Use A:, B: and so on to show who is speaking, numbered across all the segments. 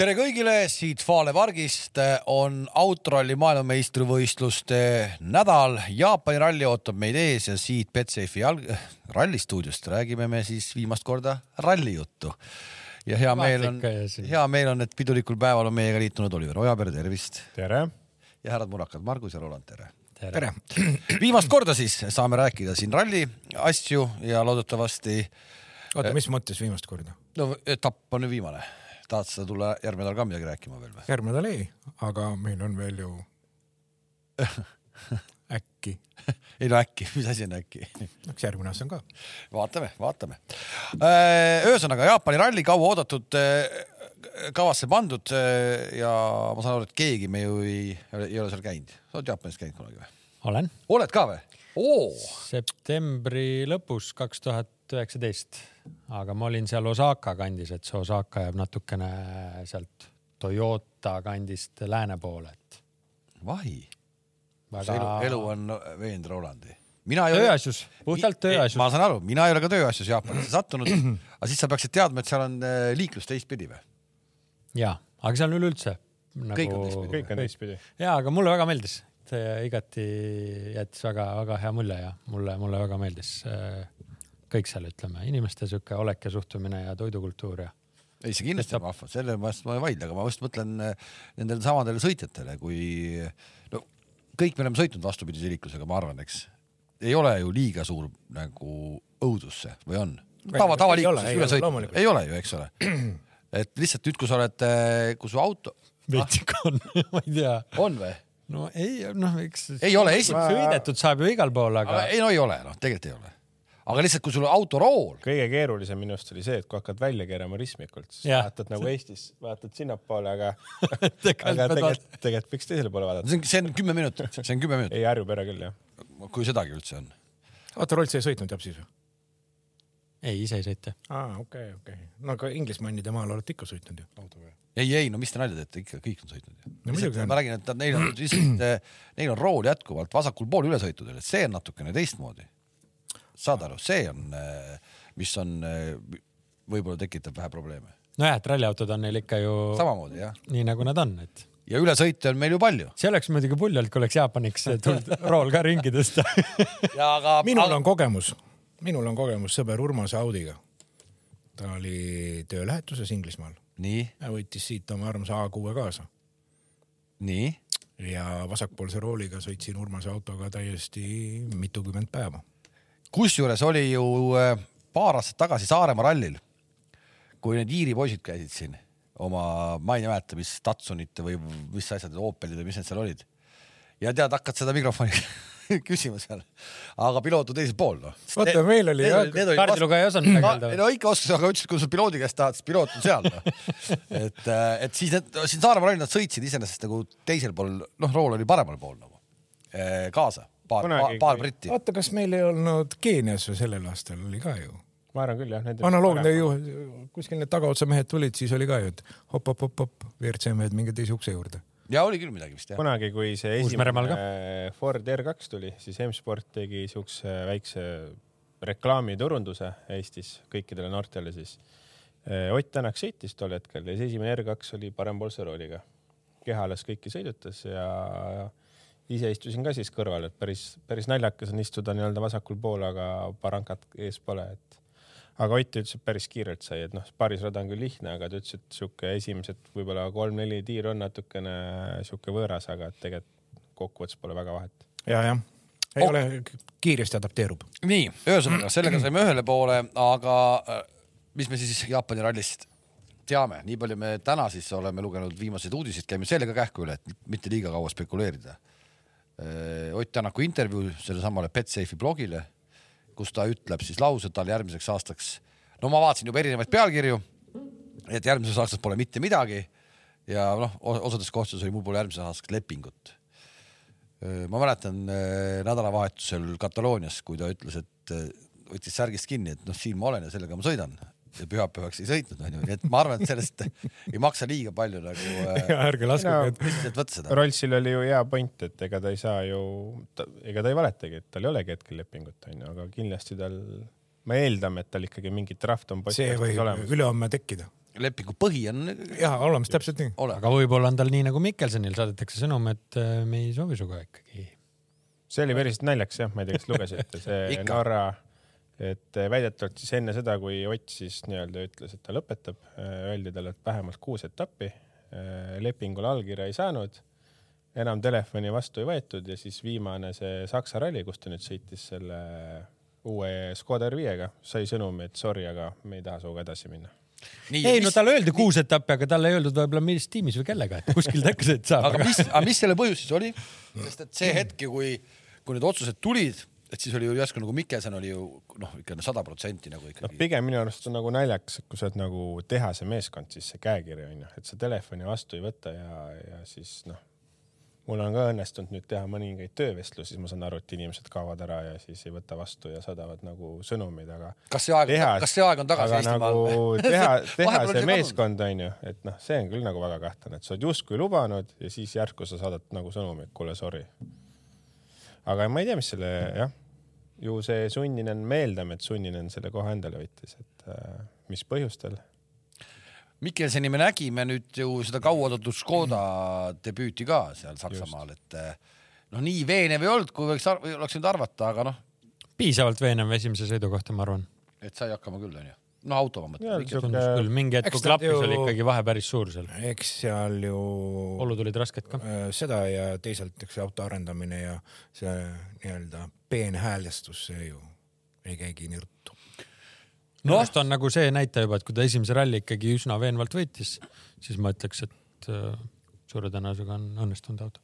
A: tere kõigile, siit Fale Pargist on autoralli maailmameistrivõistluste nädal. Jaapani ralli ootab meid ees ja siit Betsafe'i jalg... rallistuudiost räägime me siis viimast korda rallijuttu. ja hea meel on,
B: Vaadake siin.
A: hea meel on, et pidulikul päeval on meiega liitunud Oliver Ojaber, tervist
C: tere .
A: ja härrad Murakad, Margus ja Roland , tere
B: Tere.
A: viimast korda siis saame rääkida siin ralli asju ja loodetavasti ,
C: oota , mis mõttes viimast korda ?
A: no etapp on ju viimane , tahad sa tulla järgmine nädal ka midagi rääkima veel või ?
C: järgmine nädal ei , aga meil on veel ju äkki ,
A: ei no äkki , mis asi on äkki ?
C: eks järgmine aasta on ka .
A: vaatame , vaatame . ühesõnaga Jaapani ralli kauaoodatud , kavasse pandud öö, ja ma saan aru , et keegi me ju ei, ei ole seal käinud . sa oled Jaapanis käinud kunagi või ?
B: olen
A: oled ka või ? oo ,
B: septembri lõpus kaks tuhat üheksateist , aga ma olin seal Osaka kandis , et see Osaka jääb natukene sealt Toyota kandist lääne poole , et
A: vahi . see elu ,
B: väga
A: elu on veend Rolandi . mina ei ole .
B: tööasjus , puhtalt tööasjus .
A: ma saan aru , mina ei ole ka tööasjus Jaapanisse sattunud , aga siis sa peaksid teadma , et seal on öö, liiklus teistpidi või ?
B: ja , aga see on üleüldse nagu... .
A: Kõik on teistpidi.
D: kõik on . teistpidi .
B: ja , aga mulle väga meeldis , et igati jättis väga-väga hea mulje ja mulle , mulle väga meeldis äh, kõik seal , ütleme , inimeste sihuke olek ja suhtumine ja toidukultuur ja
A: ei , see kindlasti on vahva , selle vastu ma ei vaidle , aga ma just mõtlen äh, nendele samadele sõitjatele , kui no kõik me oleme sõitnud vastupidise liiklusega , ma arvan , eks ei ole ju liiga suur nagu õudusse või on ? tava ,
C: ei ole,
A: tavaliikluses üle
C: ei ole,
A: sõitmine
C: loomulikult. ,
A: ei ole ju , eks ole . et lihtsalt nüüd , kui sa oled , kui su auto
B: veitsik on , ma ei tea .
A: on või ?
B: no ei , noh , eks .
A: Ei ole, esi-
B: sõidetud saab ju igal pool , aga
A: ei no ei ole , noh , tegelikult ei ole . aga lihtsalt , kui sul on autorool ,
D: kõige keerulisem minu arust oli see , et kui hakkad välja keerama ristmikult , siis
B: Jah.
D: yeah. vaatad nagu Eestis , vaatad sinnapoole , aga
B: Tegelikult
D: aga
B: pead
D: tegelikult , tegelikult võiks teisele poole vaadata .
A: see on , see on kümme minutit , see on kümme minutit ,
D: ei , Harju pere küll jah .
A: kui sedagi üldse on .
C: oota , Rolt , sa ei sõitnud jah siis või ?
B: ei , ise ei sõita .
C: aa , okei , okei . no aga Inglismannide maal olete ikka sõitnud ju autoga ?
A: ei , ei no mis te nalja teete , ikka kõik on sõitnud ju
C: No muidugi
A: no, .
C: on.
A: ma räägin , et nad- neil on lihtsalt , neil on rool jätkuvalt vasakul pool ülesõitudel , et see on natukene teistmoodi . saad aru , see on , mis on , võib-olla tekitab vähe probleeme .
B: nojah , et ralliautod on neil ikka ju Sama.
A: samamoodi jah ,
B: nii nagu nad on , et
A: ja ülesõite on meil ju palju .
B: see oleks muidugi pull olnud , kui oleks Jaapaniks tulnud rool ka ringi tõsta .
A: aga
C: minul on kogemus , minul on kogemus sõber Urmase Audiga . ta oli töölähetuses Inglismaal
A: nii ,
C: ja võttis siit oma armsa A6-e kaasa
A: nii ,
C: ja vasakpoolse rooliga sõitsin Urmase autoga täiesti mitukümmend päeva .
A: kusjuures oli ju äh, paar aastat tagasi Saaremaa rallil , kui need Iiri poisid käisid siin oma , ma ei mäleta , mis Datsunite või mis asjad , Opelid või mis need seal olid . ja tead , hakkad seda mikrofoni küsima seal , aga piloot on teisel pool noh .
C: Vaata, meil oli jah,
B: kaardilugeja ei osanud midagi öelda.
A: no ikka oskas , aga ütles , et kui sa piloodi käest tahad , siis piloot on seal noh. et , et siis need siin Saaremaa rallil nad sõitsid iseenesest nagu teisel pool , noh , rool oli paremal pool nagu Eh, kaasa , paar , paar,
D: Kunagi,
A: paar
D: kui-
A: britti .
C: oota , kas meil ei olnud Keenias või sellel aastal oli ka ju ?
D: ma arvan küll jah .
C: analoogne . ju , kuskil need tagaotsa mehed tulid , siis oli ka ju , et hop-hop-hop-hop , WRC mehed minge teise ukse juurde .
A: ja oli küll midagi vist jah .
D: kunagi , kui see
B: Uus-Meremaal ka?
D: esimene Ford R2 tuli , siis M-Sport tegi siukse väikse reklaamiturunduse Eestis kõikidele noortele siis . Ott Tänak sõitis tol hetkel ja see esimene R2 oli parempoolse rooliga . kehalas kõiki sõidutas ja ise istusin ka siis kõrval , et päris , päris naljakas on istuda nii-öelda vasakul pool , aga parankat ees pole , et aga Ott ütles , et päris kiirelt sai , et noh , paaris rada on küll lihtne , aga ta ütles , et sihuke esimesed võib-olla kolm-neli tiir on natukene sihuke võõras , aga et tegelikult kokkuvõttes pole väga vahet .
C: ja , jah . ei oh. ole , kiiresti adapteerub .
A: nii , ühesõnaga sellega saime ühele poole , aga äh, mis me siis Jaapani rallist teame , nii palju me täna siis oleme lugenud viimaseid uudiseid , käime sellega kähku üle , et mitte liiga kaua spekuleerida . Äh, Ott Tänaku intervjuu sellesamale Betsafe'i blogile , kus ta ütleb siis lause , et tal järgmiseks aastaks , no ma vaatasin juba erinevaid pealkirju , et järgmises aastas pole mitte midagi ja noh , osades kohtades oli mul pole järgmiseks aastaks lepingut ma mäletan äh, nädalavahetusel Kataloonias , kui ta ütles , et äh, võttis särgist kinni , et noh , siin ma olen ja sellega ma sõidan ja pühapäevaks ei sõitnud , onju , nii et ma arvan , et sellest ei maksa liiga palju nagu äh,
C: ärge
D: No.
C: laskuge no. ,
A: lihtsalt võtta seda .
D: Rollsil oli ju hea point , et ega ta ei saa ju , ega ta ei valetagi , et tal ei olegi hetkel lepingut , onju , aga kindlasti tal , me eeldame , et tal ikkagi mingi draft on
C: see
D: postkastis
C: võib
D: olemas .
C: ülehomme tekkida .
A: lepingu põhi on
C: ja olemas täpselt nii .
A: olemas .
B: aga võib-olla on tal nii nagu Mikkelsonil saadetakse sõnum , et äh, me ei soovi sinuga ikkagi .
D: see oli päris naljakas jah , ma ei tea , kas lugesite , see
A: Ikka.
D: Norra , et eh, väidetavalt siis enne seda , kui Ott siis nii-öelda ütles , et ta lõpetab , öeldi talle , et vähemalt kuus etappi , lepingule allkirja ei saanud , enam telefoni vastu ei võetud ja siis viimane see Saksa ralli , kus ta nüüd sõitis selle uue Škoda R5-ga , sai sõnumi , et sorry , aga me ei taha sinuga edasi minna .
B: ei no talle öeldi kuus etappi , aga talle ei öeldud võib-olla millises tiimis või kellega , et kuskil ta ütles , et saab .
A: aga mis , aga mis selle põhjus siis oli ? sest et see hetk ju , kui , kui need otsused tulid , et siis oli ju järsku nagu Mikkelson oli ju noh , ikka sada protsenti nagu
D: noh ,
A: ikkagi .
D: pigem minu arust on nagu naljakas , et kui sa oled nagu tehase meeskond , siis see käekiri on ju , et sa telefoni vastu ei võta ja , ja siis noh , mul on ka õnnestunud nüüd teha mõningaid töövestlusi , ma saan aru , et inimesed kaovad ära ja siis ei võta vastu ja saadavad nagu sõnumeid , aga .
A: kas see aeg ,
D: tehas ,
A: kas see aeg on tagasi
D: aga nagu
A: Eestimaal ?
D: teha
A: Vahepeal , oli see
D: tehase
A: kadunud.
D: meeskond on ju , et noh , see on küll nagu väga kahtlane , et sa oled justkui lubanud ja siis järsku sa saadad nagu sõnumi , et kuule , sorry . aga ma ei tea , mis selle jah , ju see sunninen , me eeldame , et sunninen selle koha endale võttis , et äh, mis põhjustel .
A: Mikkelsoni me nägime nüüd ju seda kauaoodatud Škoda debüüti ka seal Saksamaal , et eh, noh , nii veenev ei olnud , kui võiks , oleks võinud arvata , aga noh ,
B: piisavalt veenev esimese sõidu kohta , ma arvan .
A: et sai hakkama küll , onju . no autoga ma mõtlen .
B: tundus küll , mingi hetk ,
C: Eks
B: kui
C: nad
B: klappis ,
C: ju-
B: oli ikkagi vahe päris suur seal .
C: eks seal ju
B: olud olid rasked ka .
C: äh, seda ja teisalt eks auto arendamine ja see nii-öelda peenhäälestus , see ju ei käigi nirtu .
B: minu arust on nagu see näitaja juba , et kui ta esimese ralli ikkagi üsna veenvalt võitis , siis ma ütleks , et äh, suure tõenäosusega on õnnestunud auto .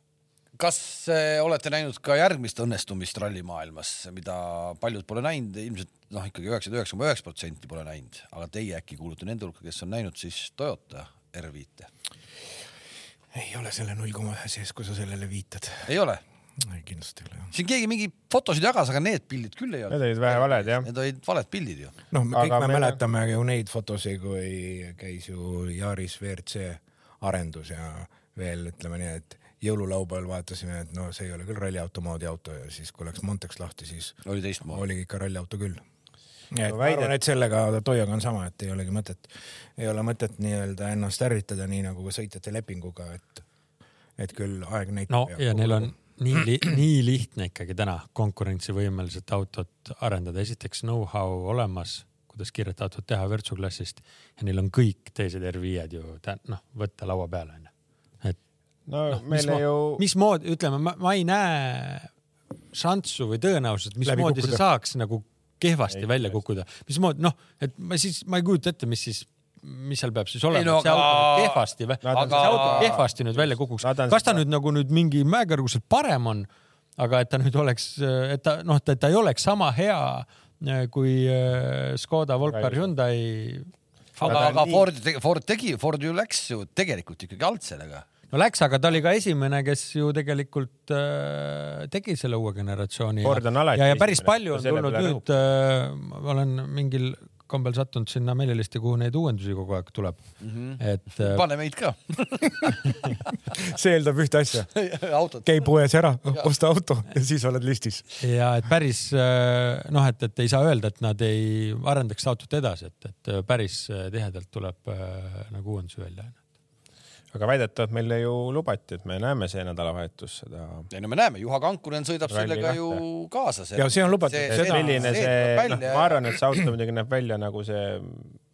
A: kas eh, olete näinud ka järgmist õnnestumist rallimaailmas , mida paljud pole näinud , ilmselt noh , ikkagi üheksakümmend üheksa koma üheksa protsenti pole näinud , aga teie äkki kuulute nende hulka , kes on näinud siis Toyota R5-e ?
C: ei ole selle null koma ühe sees , kui sa sellele viitad .
A: ei ole ,
C: kindlasti ei ole jah .
A: siin keegi mingeid fotosid jagas , aga need pildid küll ei
D: Need
A: olnud .
D: olid vähe valed jah .
A: Need olid valed pildid ju .
C: noh , me
D: Aga
C: kõik me
D: meil-
C: mäletame ju neid fotosid , kui käis ju Yaris WRC arendus ja veel ütleme nii , et jõululaupäeval vaatasime , et no see ei ole küll ralliauto , moodiauto ja siis kui läks Montex lahti , siis
A: oli teistmoodi .
C: oli ikka ralliauto küll . et
D: No
C: ma
D: väidet-
C: arvan , et sellega Toyoga on sama , et ei olegi mõtet , ei ole mõtet nii-öelda ennast ärritada nii nagu ka sõitjate lepinguga , et , et küll aeg näitab .
B: no ja neil on nii li- , nii lihtne ikkagi täna konkurentsivõimeliselt autot arendada . esiteks know-how olemas , kuidas kiiret autot teha vürtsuklassist ja neil on kõik teised R5-d ju tä- noh , võtta laua peale onju . et
D: no meil
B: noh, mis,
D: ju .
B: mismoodi , ütleme , ma , ma ei näe šanssu või tõenäosust ,
C: Läbi
B: mismoodi see
C: kukkuda.
B: saaks nagu kehvasti
D: Ei,
B: ei, välja kukkuda , mismoodi noh , et ma siis , ma ei kujuta ette , mis siis , mis seal peab siis
A: Ei
B: olema
A: no
B: no, , et see
A: aga-
B: auto nüüd kehvasti vä- ,
D: Nad on
B: aga... see auto
A: seda-
B: kehvasti nüüd välja kukuks ,
D: Nad on
B: kas ta
D: seda-
B: nüüd nagu nüüd mingi mäekõrguselt parem on , aga et ta nüüd oleks , et ta noh , et ta ei oleks sama hea äh, kui äh, Škoda , Volcar , Hyundai .
A: aga ,
D: Nad on
A: aga
D: nii-
A: Ford , Ford tegi , Ford ju läks ju tegelikult ikkagi alt sellega .
B: no läks , aga ta oli ka esimene , kes ju tegelikult äh, tegi selle uue generatsiooni .
D: Ford on alati
B: ja , ja päris
D: esimene.
B: palju on
D: Ta selle
B: tulnud
D: peale
B: nüüd , äh, ma olen mingil kombel sattunud sinna meelelisti , kuhu neid uuendusi kogu aeg tuleb mm . -hmm. et äh,
A: pane meid ka ,
C: see eeldab ühte asja ,
A: autot .
C: käi poes ära , osta auto ja siis oled listis .
B: ja et päris äh, noh , et , et ei saa öelda , et nad ei arendaks autot edasi , et , et äh, päris äh, tihedalt tuleb äh, nagu uuendusi välja .
D: aga väidetavalt meile ju lubati , et me näeme see nädalavahetus seda .
A: ei no me näeme , Juha Kankunen sõidab
D: Ralli
A: sellega
D: kahte.
A: ju kaasas .
C: Ja see on lubatud,
D: et
C: seda-
D: milline see , noh , ma arvan , et see auto muidugi näeb välja nagu see ,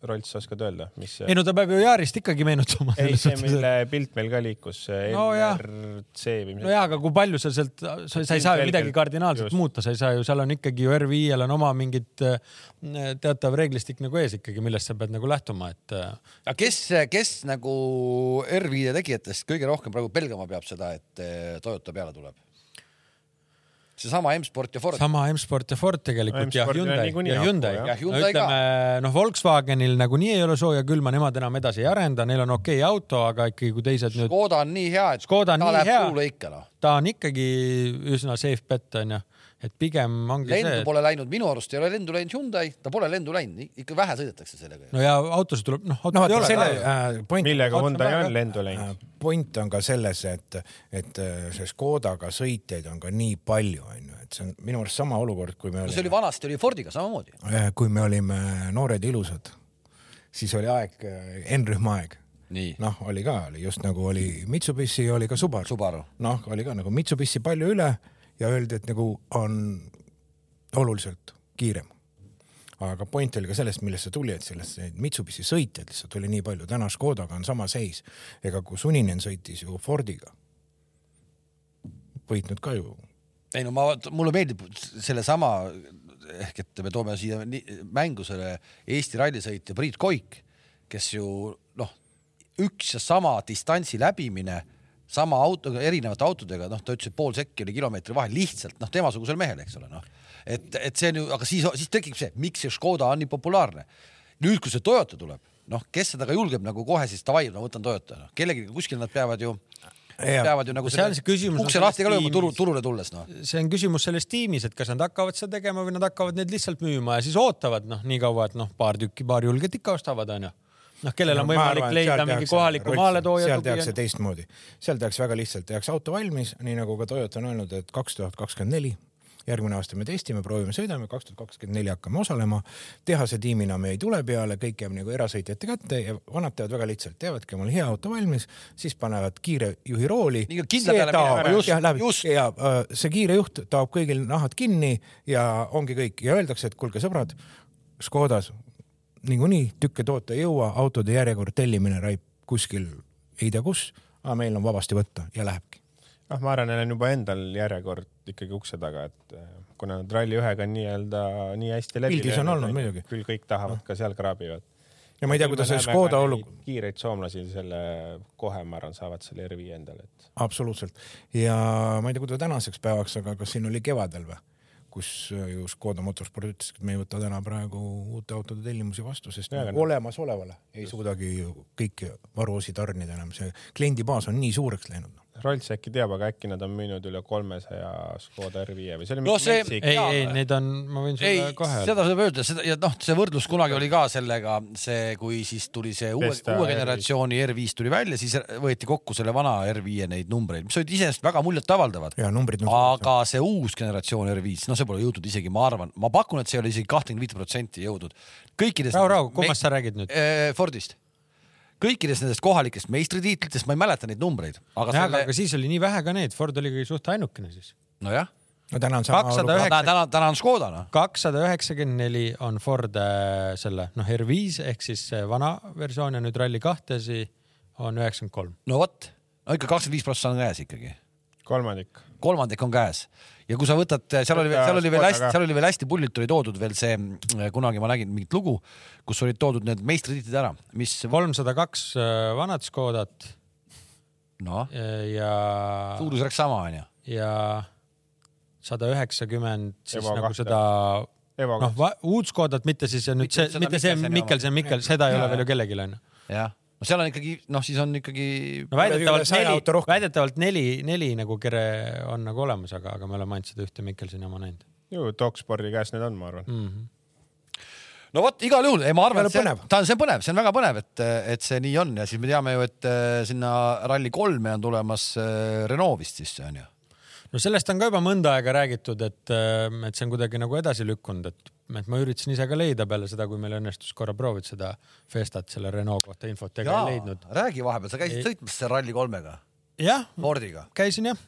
D: Rolls , sa oskad öelda , mis see
B: ei no ta peab ju Yaarist ikkagi
C: noh,
B: meenutama .
D: ei , see , mille pilt meil ka liikus , see
B: Nojah.
D: NRC või mis
B: nojah , aga kui palju sa sealt , sa , sa ei saa ju midagi
D: Ilmselgelt,
B: kardinaalselt
D: just.
B: just. muuta , sa ei saa ju , seal on ikkagi ju R5-l on oma mingid äh, teatav reeglistik nagu ees ikkagi , millest sa pead nagu lähtuma , et äh,
A: aga kes , kes nagu R5 tegijatest kõige rohkem praegu pelgama peab seda , et eh, Toyota peale tuleb ? seesama M-Sport ja Ford Sam .
B: sama M-Sport ja Ford tegelikult ja
D: M-Spordil on
B: Hyundai
D: niikuinii
B: ja
D: aku,
B: Hyundai
D: jah.
A: Ja , Hyundai
B: ütleme noh , Volkswagenil nagunii ei ole sooja-külma , nemad enam edasi ei arenda , neil on okei okay auto , aga ikkagi kui teised nüüd ,
A: Škoda on nii hea , et
B: Škoda on
A: ta
B: nii
A: läheb
B: hea.
A: kuule ikka noh .
B: ta on ikkagi üsna safe bet onju , et pigem ongi
A: lendu
B: see ,
A: pole läinud , minu arust ei ole lendu läinud Hyundai , ta pole lendu läinud , ikka vähe sõidetakse sellega ju .
B: no ja autosid tuleb noh ,
C: no
B: autot ei
C: vaata
B: ole
C: selle
B: ka ju.
C: äh, point ,
D: millega
B: Otse
D: Hyundai
B: peale.
D: on lendu läinud .
C: point on ka selles , et , et äh, see Škodaga sõitjaid on ka nii palju , onju , et see on minu arust sama olukord , kui
A: no
C: me
A: see oli
C: olime , äh,
A: vanasti oli Fordiga samamoodi .
C: kui me olime noored ja ilusad , siis oli aeg , N-rühma aeg .
A: nii no. ,
C: noh , oli ka , oli just nagu oli Mitsubishi , oli ka Subaru .
A: Subaru ,
C: noh , oli ka nagu Mitsubishi palju üle ja öeldi , et nagu on oluliselt kiirem . aga point oli ka selles , millest see tuli , et sellest neid Mitsubishi sõitjaid lihtsalt oli nii palju , täna Škodaga on sama seis . ega kui Suninen sõitis ju Fordiga , võitnud ka ju .
A: ei no ma , mulle meeldib sellesama ehk et me toome siia nii- mängu selle Eesti rallisõitja Priit Koik , kes ju noh , üks ja sama distantsi läbimine sama autoga , erinevate autodega , noh , ta ütles , et pool sekki oli kilomeetri vahel lihtsalt noh , temasugusel mehel , eks ole , noh et , et see on ju , aga siis , siis tekib see , miks see Škoda on nii populaarne . nüüd , kui see Toyota tuleb , noh , kes seda ka julgeb nagu kohe siis davai , ma võtan Toyota , noh , kellelgi kuskil nad peavad ju ,
C: Jaa.
A: peavad ju nagu
B: See on see küsimus, on
A: ukse
B: selles
A: lahti ka lööma turu ,
B: tiimis.
A: turule tulles , noh .
B: see on küsimus selles tiimis , et kas nad hakkavad seda tegema või nad hakkavad neid lihtsalt müüma ja siis ootavad noh , nii kaua , et noh , paar tükki , paar julget ikka ostavad , onju . noh , kellel on võimalik leida mingi kohaliku maaletooja
C: seal tehakse
B: tugi .
C: teistmoodi , seal tehakse väga lihtsalt , tehakse auto valmis , nii nagu ka Toyota on öelnud , et kaks tuhat kakskümmend neli järgmine aasta me testime , proovime , sõidame , kaks tuhat kakskümmend neli hakkame osalema . tehase tiimina me ei tule peale , kõik jääb nagu erasõitjate kätte ja vanad teevad väga lihtsalt , teevadki omale hea auto valmis , siis panevad kiire juhi rooli .
A: Nii, kindla peale minema, just, just.
C: ja öö, see kiire juht taob kõigil nahad kinni ja ongi kõik ja öeldakse , et kuulge sõbrad , Škodas niikuinii tükke toota ei jõua , autode järjekord tellimine raib kuskil ei tea kus , aga meil on vabasti võtta ja lähebki .
D: noh , ma arvan , neil on juba endal järjekord ikkagi ukse taga , et eh, kuna nad Rally ühega on nii-öelda nii hästi läbi .
C: Pildis on olnud muidugi.
D: küll kõik tahavad ka seal kraabivad .
C: ja ma ei tea , kuidas see Škoda olukord .
D: kiireid soomlasi selle kohe , ma arvan , saavad selle R5 endale , et
C: absoluutselt ja ma ei tea , kuidas tänaseks päevaks , aga kas siin oli kevadel või , kus äh, ju Škoda Motorsport ütles , et me ei võta täna praegu uute autode tellimusi vastu , sest
D: Jaa, aga
C: me
D: no-
C: olemasolevale ei suudagi ju kõiki varuosi tarnida enam , see kliendibaas on nii suureks läinud . noh.
D: Rolls äkki teab , aga äkki nad on müünud üle kolmesaja Škoda R5 või see oli
A: No
D: mingi
A: see-
D: metsik-
B: ei ,
A: Jaa.
B: ei , neid on , ma võin
A: ei
B: sulle , kohe
A: seda saab öelda , seda ja noh , see võrdlus kunagi oli ka sellega , see , kui siis tuli see uue ,
D: Vesta
A: uue
D: R5.
A: generatsiooni R5 tuli välja , siis võeti kokku selle vana R5 neid numbreid , mis olid iseenesest väga muljetavaldavad .
C: ja numbrid nagu- on
A: aga see uus generatsioon R5 , no see pole jõudnud isegi , ma arvan , ma pakun , et see ei ole isegi kahtekümmend viit protsenti jõudnud . kõikidest .
B: Rahu, rahu, kummast sa räägid nüüd? ?
A: Fordist . kõikidest nendest kohalikest meistritiitlitest , ma ei mäleta neid numbreid , aga
B: jah , aga
A: selle ,
B: siis oli nii vähe ka neid , Ford oli suht ainukene siis .
A: nojah ,
C: no täna on sama
B: 200
C: olukord ,
B: Üheksa-
A: täna , täna on Škoda noh ,
B: kakssada üheksakümmend neli on Ford äh, selle noh , R5 ehk siis see vana versioon ja nüüd Rally kahtesi on üheksakümmend kolm .
A: no vot , no ikka kakskümmend viis protsenti on käes ikkagi
D: kolmandik .
A: kolmandik on käes ja kui sa võtad , seal oli ,
D: Võta
A: seal oli veel
D: Škoda
A: hästi
D: ka. ,
A: seal oli veel hästi pullilt oli toodud veel see , kunagi ma nägin mingit lugu , kus olid toodud need meistritiitlid ära , mis
B: kolmsada kaks vanat Škodat
A: noh ,
B: äh, ja ,
A: suurusjärk sama onju .
B: ja sada üheksakümmend siis
D: Evo
B: nagu
D: kahte.
B: seda
D: Evo
B: noh , uut Škodat , mitte siis ja nüüd see
A: Mitte , seda
B: mitte see
A: Mikkelseni oma.
B: Mikkelsen , Mikkel , seda ei ole veel ju kellelgi onju .
A: jah , no seal on ikkagi noh , siis on ikkagi
B: no
C: Üle
B: väidetavalt
C: saja
B: neli
C: auto , rohkem.
B: väidetavalt neli , neli nagu kere on nagu olemas , aga , aga me oleme ainult seda ühte Mikkelseni oma näinud
D: ju Talkspordi käes need on , ma arvan .
B: mm . -hmm.
A: no vot , igal juhul , ei ma arvan ,
C: Väga
A: et see
C: põnev. ,
A: ta on , see on põnev , see on väga põnev , et , et see nii on ja siis me teame ju , et eh, sinna Rally kolme on tulemas eh, Renault vist sisse onju .
B: no sellest on ka juba mõnda aega räägitud , et , et see on kuidagi nagu edasi lükkunud , et , et ma üritasin ise ka leida peale seda , kui meil õnnestus korra proovida seda Festat selle Renault kohta infot , ega ei leidnud .
A: räägi vahepeal , sa käisid
B: Ei-
A: sõitmas selle Rally kolmega ,
B: jah ,
A: Fordiga ,
B: käisin jah ,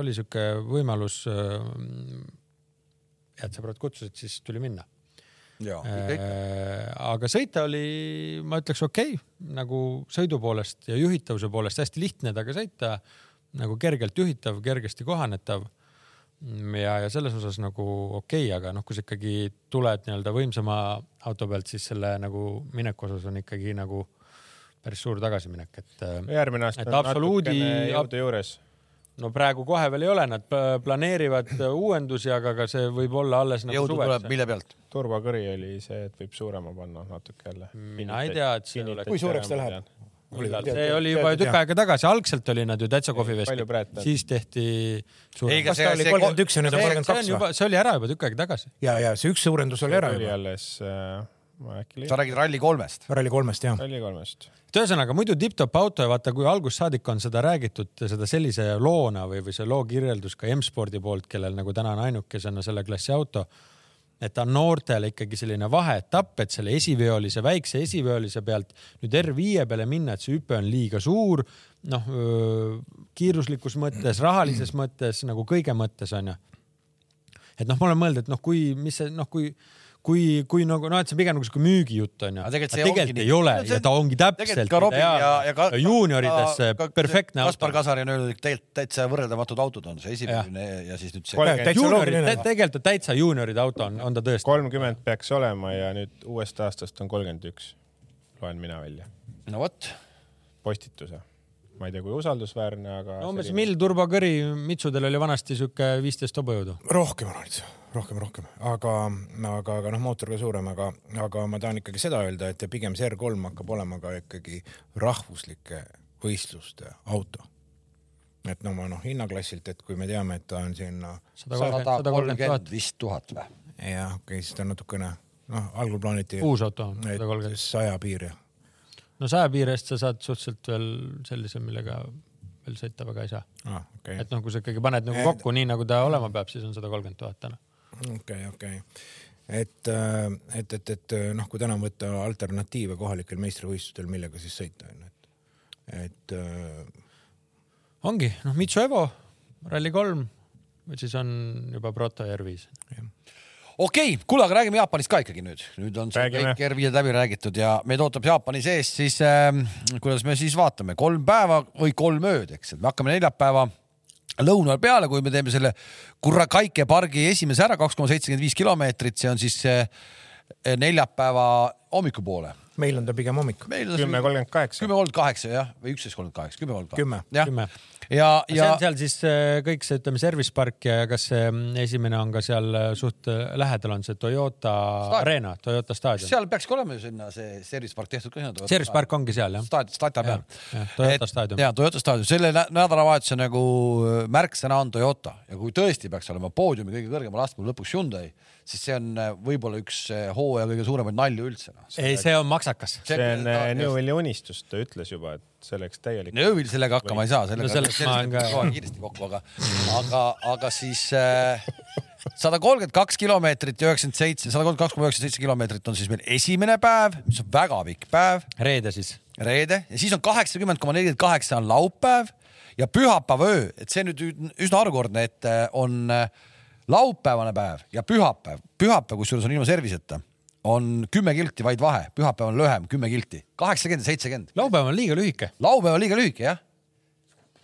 B: oli sihuke võimalus . head sõbrad kutsusid , siis tuli minna .
A: ja
B: Äh,
A: kõik
B: aga sõita oli , ma ütleks okei okay, , nagu sõidu poolest ja juhitavuse poolest hästi lihtne taga sõita , nagu kergelt juhitav , kergesti kohanetav . ja , ja selles osas nagu okei okay, , aga noh , kui sa ikkagi tuled nii-öelda võimsama auto pealt , siis selle nagu mineku osas on ikkagi nagu päris suur tagasiminek , et . äh,
D: järgmine aasta
B: Et
D: on
B: absoluudi-
D: natukene jõudu juures .
B: no praegu kohe veel ei ole , nad pla- planeerivad uuendusi , aga ka see võib olla alles nagu
A: jõudu tuleb ,
B: suveks .
A: mille pealt ?
D: turbakõri oli see , et võib suurema panna natuke jälle .
B: mina ei tea , et see oleks .
C: kui suureks ta läheb ?
B: see oli juba ju tükk aega tagasi , algselt oli nad ju täitsa
D: palju
B: kohviveskid
D: praet , on?
B: siis tehti .
A: Ei,
B: see
A: aga
C: kas
A: see-
C: ta oli
A: see-
C: kolmkümmend üks ja nüüd on kolmkümmend
B: see on
C: kaks või ?
B: juba , see oli ära juba tükk aega tagasi .
C: ja , ja see üks suurendus oli ära
D: oli
C: juba ,
D: alles , ma
A: sa
D: äkki leian ,
A: räägid Rally kolmest ?
C: Rally kolmest jah .
D: Rally kolmest .
B: et ühesõnaga muidu tipp-topp auto ja vaata , kui algusest saadik on seda räägitud , seda sellise loona või , või see loo kirjeldus ka M-spordi poolt , kellel nagu täna on ainukesena selle klassi auto , et ta on noortele ikkagi selline vaheetapp , et selle esiveolise , väikse esiveolise pealt nüüd R5 peale minna , et see hüpe on liiga suur , noh , kiiruslikus mõttes , rahalises mõttes nagu kõige mõttes onju et noh , ma olen mõelnud , et noh , kui , mis see noh , kui , kui , kui nagu noh , et see on pigem nagu siuke müügijutt onju .
A: Aga
B: aga
A: tegelikult see
B: tegelikult
A: ongi
B: ei
A: nii.
B: ole
A: No see-
B: ja ta ongi täpselt .
A: tegelikult ka Robin ja , ja ka .
B: juunioridesse perfektne
A: Kaspar
B: auto .
A: Kasari on öelnud , et tegelikult täitsa võrreldamatud autod on see esimene ja, ja siis nüüd see .
D: kolmkümmend ,
C: Täitsa loogiline.
B: tegelikult on täitsa juunioride auto on , on ta tõesti .
D: kolmkümmend peaks olema ja nüüd uuest aastast on kolmkümmend üks . loen mina välja
A: no vot ,
D: postituse . ma ei tea , kui usaldusväärne , aga .
B: no umbes mill turbakõri mitsudel oli vanasti siuke viisteist hobujõudu .
C: rohkem oleks , rohkem , rohkem , aga , aga , aga noh , mootor ka suurem , aga , aga ma tahan ikkagi seda öelda , et pigem see R3 hakkab olema ka ikkagi rahvuslike võistluste auto . et no ma noh , hinnaklassilt , et kui me teame , et ta on sinna
A: sada kolmkümmend vist tuhat või ?
C: jah , okei okay, , siis ta on natukene noh , algul plaaniti
B: uus auto , sada
C: et
B: kolmkümmend .
C: saja piir ja
B: no saja piire eest sa saad suhteliselt veel sellise , millega veel sõita väga ei saa .
C: ah, okei
B: et noh , kui sa ikkagi paned nagu kokku nii nagu ta olema peab , siis on sada kolmkümmend tuhat täna .
C: okei , okei . et , et , et , et noh , kui täna võtta alternatiive kohalikel meistrivõistlustel , millega siis sõita on , et , et äh,
B: ongi , noh , Mitsu Evo , Rally3 või siis on juba Proto R5 .
A: okei okay, , kuule , aga räägime Jaapanist ka ikkagi nüüd , nüüd on see
D: Räägime.
A: kõik R5-d läbi räägitud ja meid ootab Jaapani sees , siis äh, kuidas me siis vaatame , kolm päeva või kolm ööd , eks , et me hakkame neljapäeva lõunal peale , kui me teeme selle Kurakaike pargi esimese ära , kaks koma seitsekümmend viis kilomeetrit , see on siis äh, neljapäeva hommikupoole .
C: meil on ta pigem hommik .
A: meil on
D: kümme
A: kümme
D: kolmkümmend kaheksa .
A: kolmkümmend kaheksa jah , või üksteist kolmkümmend kaheksa , kümme
C: Kümme.
A: kolmkümmend kaheksa .
B: kümme .
A: jah , ja ,
B: see
A: ja
B: on seal siis äh, kõik see , ütleme , service park ja kas see mm, esimene on ka seal äh, suht äh, lähedal on see Toyota
A: Staadion.
B: Arena , Toyota staadion .
A: seal peakski olema ju sinna see service park tehtud ka sinna .
B: service park ongi seal jah ?
A: staadion , staadion peal
B: Jah, jah, Toyota staadion.
A: ja Toyota staadion , selle nä- nädalavahetuse nagu äh, märksõna on Toyota ja kui tõesti peaks olema poodiumi kõige kõrgemal astmel lõpuks Hyundai , siis see on äh, võib-olla üks äh, hooaja kõige suuremaid nalju üldse . noh.
B: ei , see on maksakas .
D: see on
A: Ah,
D: äh, Newelli unistus , ta ütles juba , et see läks täielik .
A: Nöövil sellega hakkama ei saa , sellega
B: No sellest ma olen ka-
A: kohe kiiresti kokku , aga , aga , aga siis sada kolmkümmend kaks kilomeetrit ja üheksakümmend seitse , sada kolmkümmend kaks koma üheksakümmend seitse kilomeetrit on siis meil esimene päev , mis on väga pikk päev
B: reede siis .
A: reede ja siis on kaheksakümmend koma nelikümmend kaheksa on laupäev ja pühapäeva öö , et see nüüd ü- üsna harukordne , et äh, on äh, laupäevane päev ja pühapäev , pühapäev , kusjuures on ilma serviseta , on kümme kilti vaid vahe , pühapäev on lühem , kümme kilti , kaheksakümmend ja seitsekümmend .
B: laupäev on liiga lühike .
A: laupäev on liiga lühike jah .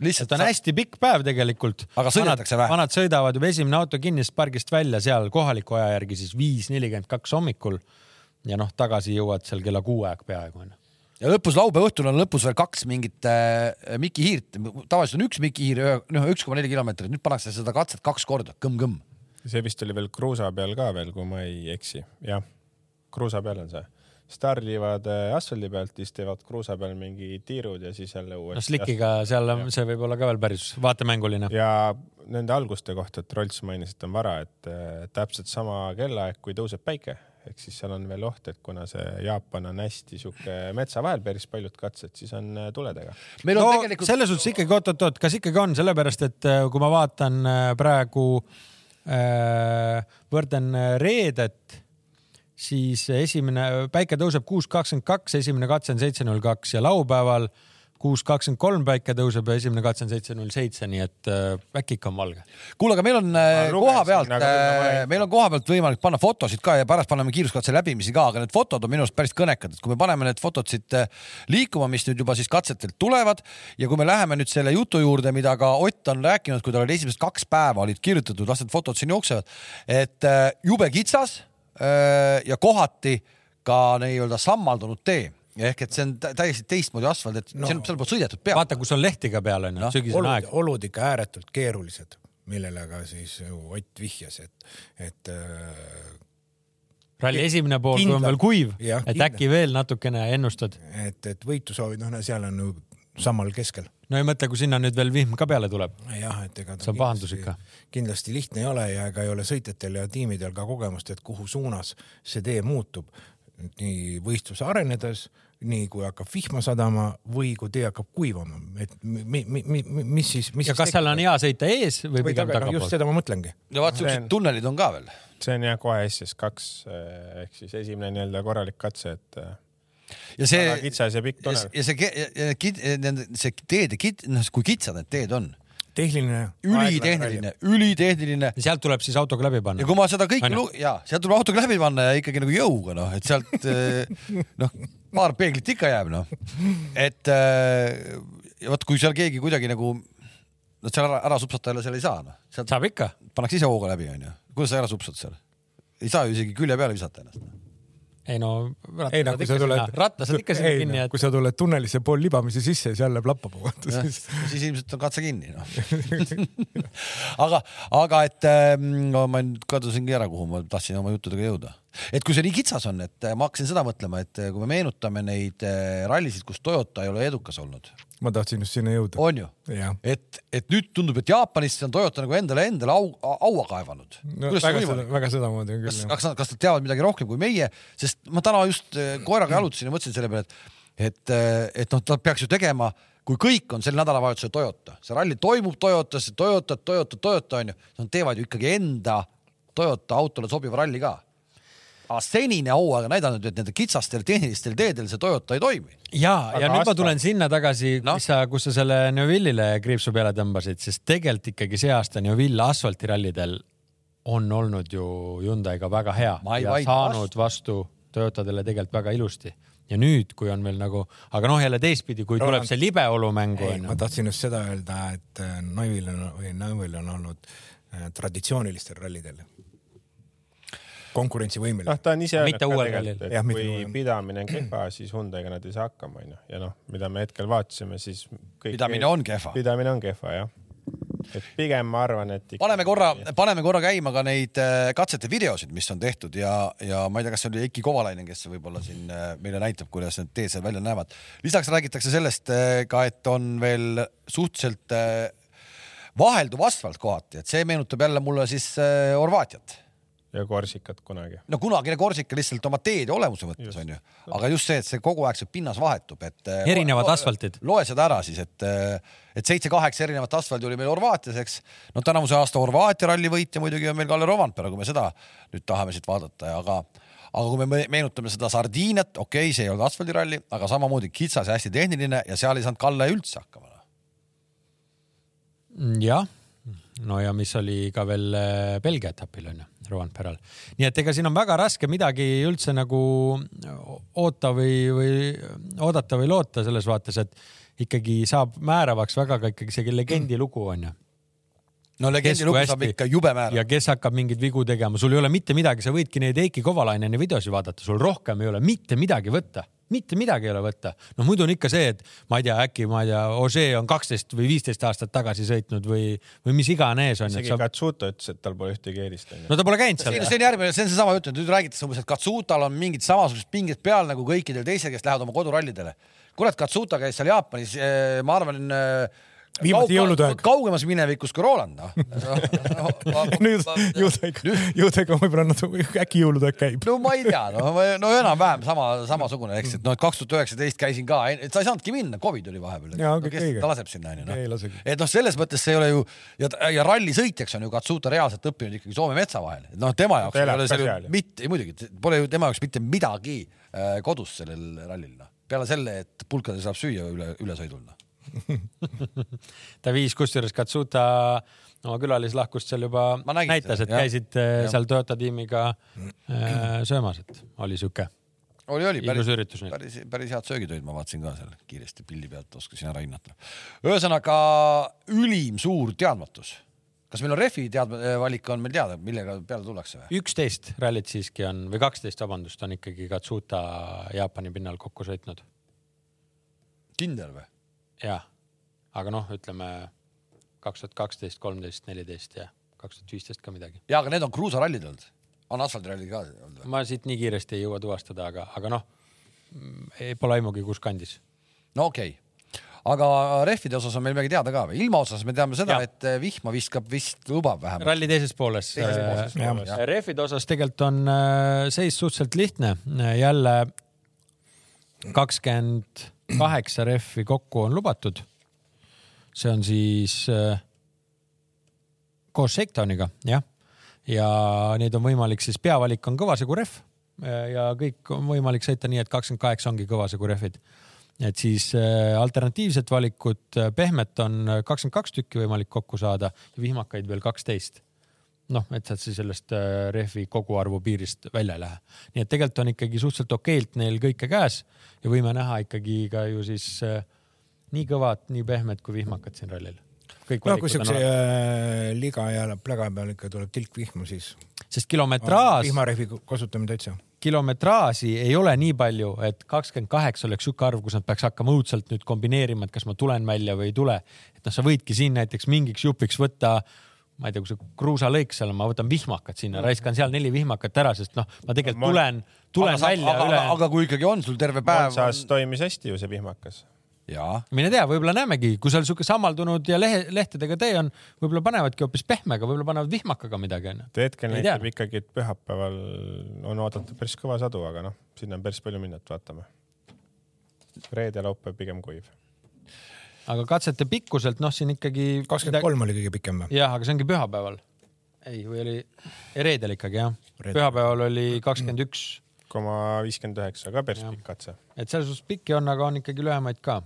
A: lihtsalt
B: ta on
A: sa-
B: hästi pikk päev tegelikult .
A: Aga sõidetakse vähe.
B: vanad sõidavad juba esimene auto kinnisest pargist välja seal kohaliku aja järgi siis viis nelikümmend kaks hommikul ja noh , tagasi jõuad seal kella kuue aeg peaaegu onju .
A: ja lõpus laupäeva õhtul on lõpus veel kaks mingit äh, Miki hiirt , tavaliselt on üks Miki hiir , noh üks koma neli kilomeetrit , nüüd pannakse seda katset kaks korda , kõmm-kõmm .
D: see vist oli veel kruusa peal ka veel , kui ma ei eksi . jah , kruusa peal on see . stardivad äh, asfaldi pealt , siis teevad kruusa peal mingi tiirud ja siis jälle
B: no
D: uuesti .
B: Slikiga seal on , see võib olla ka veel päris vaatemänguline .
D: ja nende alguste kohta , et Rolls mainis , et on vara , et äh, täpselt sama kellaaeg , kui tõuseb päike , ehk siis seal on veel oht , et kuna see Jaapan on hästi sihuke metsa vahel päris paljud katsed , siis on äh, tuledega .
A: meil on
B: no
A: no, tegelikult
B: selles suhtes ikkagi oot-oot-oot , kas ikkagi on , sellepärast et äh, kui ma vaatan äh, praegu , võrdlen äh, reedet , siis esimene , päike tõuseb kuus kakskümmend kaks , esimene katse on seitse null kaks ja laupäeval kuus kakskümmend kolm päike tõuseb ja esimene katse on seitse null seitse , nii et äh, äkki ikka on valge .
A: kuule , aga meil on äh,
D: lugesin,
A: koha pealt
D: aga nüüd ma
A: äh,
D: vajan- ,
A: meil on koha pealt võimalik panna fotosid ka ja pärast paneme kiiruskatse läbimisi ka , aga need fotod on minu arust päris kõnekad , et kui me paneme need fotod siit äh, liikuma , mis nüüd juba siis katsetelt tulevad ja kui me läheme nüüd selle jutu juurde , mida ka Ott on rääkinud , kui tal oli esimesed kaks päeva olid kirjutatud , las need fotod siin jooksevad , et äh, jube kitsas äh, ja kohati ka nii-öelda sammaldunud tee ehk et see on tä- täiesti teistmoodi asfalt , et no.
C: No.
A: seal , seal pole sõidetud peale .
B: vaata , kus on lehti ka peal onju no, , sügisene
C: olud
B: aeg ,.
C: olud ikka ääretult keerulised , millele ka siis ju Ott vihjas , et , et äh,
B: ralli esimene pool , kui on
C: kindlalt.
B: veel kuiv ,
C: Jah,
B: et
C: kindlalt.
B: äkki veel natukene ennustad .
C: et , et võitusoovid , noh , seal on ju samal keskel .
B: no ei mõtle , kui sinna nüüd veel vihm ka peale tuleb .
C: jah , et ega ta
B: See on pahandus ikka. .
C: kindlasti lihtne ei ole ja ega ei ole sõitjatel ja tiimidel ka kogemust , et kuhu suunas see tee muutub . nii võistluse arenedes , nii kui hakkab vihma sadama või kui tee hakkab kuivama , et mi, mi, mi, mi, mis siis , mis
B: ja kas seal on hea sõita ees
C: või
B: või pigem
C: taga , just
B: tagapool ?
C: seda ma mõtlengi .
A: ja vaat siuksed tunnelid on ka veel .
D: see on jah kohe SS2 äh, ehk siis esimene nii-öelda korralik katse , et eh,
A: ja
D: väga
A: see ,
D: kitsas ja pikk
A: ja
D: tunnel .
A: ja see , see teede , noh , kui kitsad need teed on ,
C: tehniline .
A: ülitehniline , ülitehniline
B: sealt tuleb siis autoga läbi
A: ja
B: panna .
A: kui ma seda kõike
B: On ju?
A: lu- , jaa , sealt tuleb autoga läbi panna ja ikkagi nagu jõuga noh , et sealt eh, noh , paar peeglit ikka jääb noh . et eh, ja vot , kui seal keegi kuidagi nagu , no seal ära , ära supsata jälle seal ei saa noh , sealt
B: saab ikka .
A: pannakse ise hooga läbi onju , kuidas sa ära supsad seal ? ei saa ju isegi külje peale visata ennast .
B: ei no ,
C: ei no
B: rattased
C: kui sa
B: ikka sinna ,
C: tuled . nagu
B: rattased ikka sinna kinni , et
C: kui sa tuled tunnelisse pool libamisi sisse ja seal läheb lappama , vaata siis .
A: siis ilmselt on katse kinni noh . aga , aga et eh, no, ma nüüd kadusingi ära , kuhu ma tahtsin oma juttudega jõuda . et kui see nii kitsas on , et eh, ma hakkasin seda mõtlema , et eh, kui me meenutame neid eh, rallisid , kus Toyota ei ole edukas olnud ,
C: ma tahtsin just sinna jõuda .
A: on ju ,
C: jah .
A: et , et nüüd tundub , et Jaapanis on Toyota nagu endale endale au , haua kaevanud
C: No,
A: kuidas see on
C: väga seda
A: võimalik ?,
C: väga sedamoodi on
A: kas ,
C: küll .
A: kas nad , kas nad teavad midagi rohkem kui meie , sest ma täna just eh, koeraga jalutasin ja mõtlesin selle peale , et et , et noh , ta peaks ju tegema , kui kõik on sel nädalavahetusel Toyota , see ralli toimub Toyotas , Toyota , Toyota , Toyota on ju , nad teevad ju ikkagi enda Toyota autole sobiva ralli ka . aga senine hooaeg on näidanud , et nendel kitsastel tehnilistel teedel see Toyota ei toimi .
B: ja , ja
D: Aga
B: nüüd ma
D: asfalt-
B: tulen sinna tagasi ,
A: Noh.
B: kus sa , kus sa selle Neuvillile kriipsu peale tõmbasid , sest tegelikult ikkagi see aasta Neuville asfaltirallidel on olnud ju Hyundai'ga väga hea
A: Ma ei
B: ja
A: vaidle
B: saanud vastu Toyotadele tegelikult väga ilusti . ja nüüd , kui on veel nagu , aga noh , jälle teistpidi , kui tuleb
C: Roland-
B: see libe olu mängu
C: ei , ma
B: onju .
C: tahtsin just seda öelda , et äh, Naivil on või Naivil on olnud äh, traditsioonilistel rallidel konkurentsivõimeline
B: Ah,
D: noh , ta on ise öelnud
B: Mitte
D: ka
B: uuel
D: tegelikult,
B: rallil.
D: et
C: Jah, mitte
D: kui
C: uuel.
D: pidamine on kehva , siis Hyundai'ga nad ei saa hakkama , onju . ja noh , mida me hetkel vaatasime , siis kõik
A: pidamine on kehva .
D: pidamine on kehva , jah . et pigem ma arvan , et ikka...
A: paneme korra , paneme korra käima ka neid eh, katsete videosid , mis on tehtud ja , ja ma ei tea , kas see oli Eiki Kovalainen , kes võib-olla siin eh, meile näitab , kuidas need teed seal välja näevad . lisaks räägitakse sellest eh, ka , et on veel suhteliselt eh, vahelduv asfalt kohati , et see meenutab jälle mulle siis eh, Horvaatiat .
D: ja Korsikat kunagi .
A: no kunagine Korsika lihtsalt oma teede olemuse mõttes on ju , aga just see , et see kogu aeg see pinnas vahetub , et .
B: Erinevad asfaltid.
A: loe seda ära siis , et , et seitse-kaheksa erinevat asfalti oli meil Horvaatias , eks . no tänavuse aasta Horvaatia ralli võitja muidugi on meil Kalle Rovanpera , kui me seda nüüd tahame siit vaadata , aga , aga kui me me meenutame seda Sardiiniat , okei okay, , see ei olnud asfaldiralli , aga samamoodi kitsas ja hästi tehniline ja seal ei saanud Kalle üldse hakkama .
B: Mm, jah , no ja mis oli ka veel äh, Belgia etapil onju , Rovanperal . nii et ega siin on väga raske midagi üldse nagu oota või , või oodata või loota selles vaates , et ikkagi saab määravaks väga ka ikkagi see legendi lugu onju .
A: no legendi lugu saab ikka jube määrav
B: ja . kes hakkab mingeid vigu tegema , sul ei ole mitte midagi , sa võidki neid Heiki Kovalaineni videosi vaadata , sul rohkem ei ole mitte midagi võtta , mitte midagi ei ole võtta . no muidu on ikka see , et ma ei tea , äkki ma ei tea , Ožee on kaksteist või viisteist aastat tagasi sõitnud või , või mis iganes on .
D: isegi
B: Sa...
D: saab... Katsuto ütles , et tal pole ühtegi eelist onju .
B: no ta pole käinud seal
A: see , see on järgmine , see on seesama jutt , et nüüd räägitakse umbes , et Katsutal on mingid samasugused pinged peal nagu kõikidel teistel , kes lähevad oma kodurallidele . kurat , Katsuta käis seal Jaapanis , ma arvan ,
C: Viimati jõulude aeg.
A: kaugemas minevikus kui Roland , noh .
C: nüüd jõudega , jõudega võib-olla natuke , äkki jõulude aeg käib .
A: no ma ei tea , no , no enam-vähem sama , samasugune , eks , et noh , et kaks tuhat üheksateist käisin ka , et sa ei saanudki minna , Covid oli vahepeal .
C: Jaa, okei,
A: kes
C: õige.
A: ta laseb sinna , onju ,
C: Ei
A: noh
C: lasegi. .
A: et noh , selles mõttes see ei ole ju ja , ja rallisõitjaks on ju Katsuta reaalselt õppinud ikkagi Soome metsa vahel , et noh , tema jaoks
D: Ta
A: ei
D: elab
A: ole
D: ka
A: seal
D: seal
A: ju
D: ju.
A: mitte , muidugi , pole ju tema jaoks mitte midagi äh, kodus sellel rallil , noh . peale selle , et pulkades saab süüa üle , ülesõidul , noh .
B: ta viis kusjuures Katsuta oma külalislahkust seal juba
A: Ma nägin
B: näitas ,
A: seda,
B: et
A: jah.
B: käisid äh,
A: Jah.
B: seal Toyota tiimiga äh, söömas , et oli siuke .
A: oli , oli
B: Ilus
A: päris
B: üritus , neil.
A: päris , päris head söögitoid , ma vaatasin ka seal kiiresti pildi pealt , oskasin ära hinnata . ühesõnaga ülim suur teadmatus . kas meil on refi teadma- , valik on meil teada , millega peale tullakse või ?
B: üksteist rallit siiski on või kaksteist , vabandust , on ikkagi Katsuta Jaapani pinnal kokku sõitnud .
A: kindel või ?
B: jah , aga noh , ütleme kaks tuhat kaksteist , kolmteist , neliteist ja kaks tuhat viisteist ka midagi .
A: ja , aga need on kruusarallid olnud , on asfaldirallid ka olnud või ?
B: ma siit nii kiiresti ei jõua tuvastada , aga , aga noh , pole aimugi , kus kandis .
A: no okei okay. , aga rehvide osas on meil midagi teada ka või ? ilma osas me teame seda ,
B: Jah.
A: et eh, vihma viskab vist lubav vähemalt .
B: ralli teises pooles .
A: Teises pooles,
C: jah.
B: rehvide osas tegelikult on äh, seis suhteliselt lihtne , jälle kakskümmend kaheksa rehvi kokku on lubatud . see on siis äh, koos Shakedowniga , jah . ja neid on võimalik siis , peavalik on kõvasegu rehv ja kõik on võimalik sõita nii , et kakskümmend kaheksa ongi kõvasegu rehvid . et siis äh, alternatiivset valikut , pehmet on kakskümmend kaks tükki võimalik kokku saada ja vihmakaid veel kaksteist noh , et sealt siis sellest äh, rehvi koguarvu piirist välja ei lähe . nii et tegelikult on ikkagi suhteliselt okeilt neil kõike käes ja võime näha ikkagi ka ju siis äh, nii kõvad , nii pehmed kui vihmakad siin rallil .
C: no kui siukse äh, liga ja pläga peal ikka tuleb tilk vihma , siis
B: sest kilometraaž ,
C: vihmarehvi kasutamine täitsa .
B: kilometraaži ei ole nii palju , et kakskümmend kaheksa oleks sihuke arv , kus nad peaks hakkama õudselt nüüd kombineerima , et kas ma tulen välja või ei tule . et noh , sa võidki siin näiteks mingiks jupiks võtta , ma ei tea , kui see kruusalõik seal on , ma võtan vihmakad
A: Mm.
B: sinna , raiskan seal neli vihmakat ära , sest noh , ma tegelikult
D: Ma-
B: tulen , tulen
A: aga,
B: välja
A: aga,
B: üle
A: aga- . aga kui ikkagi on sul terve päev .
D: Monzas toimis hästi ju see vihmakas .
A: jaa ,
B: mine tea , võib-olla näemegi , kui seal sihuke sammaldunud ja lehe , lehtedega tee on , võib-olla panevadki hoopis pehmega , võib-olla panevad vihmakaga midagi onju .
D: hetkel
B: Ei
D: näitab
B: tea.
D: ikkagi , et pühapäeval on oodata päris kõva sadu , aga noh , sinna on päris palju minna , et vaatame . reede , laupäev pigem kuiv .
B: aga katsete pikkuselt , noh , siin ikkagi .
C: kakskümmend kolm oli kõige pikem või ?
B: jah , aga see ongi pühapäeval . ei , või oli ei, reedel ikkagi jah .
C: Reedel.
B: pühapäeval oli kakskümmend üks ,
D: koma viiskümmend üheksa , ka päris
B: Jah.
D: pikk katse .
B: et selles suhtes pikki on , aga on ikkagi lühemaid ka .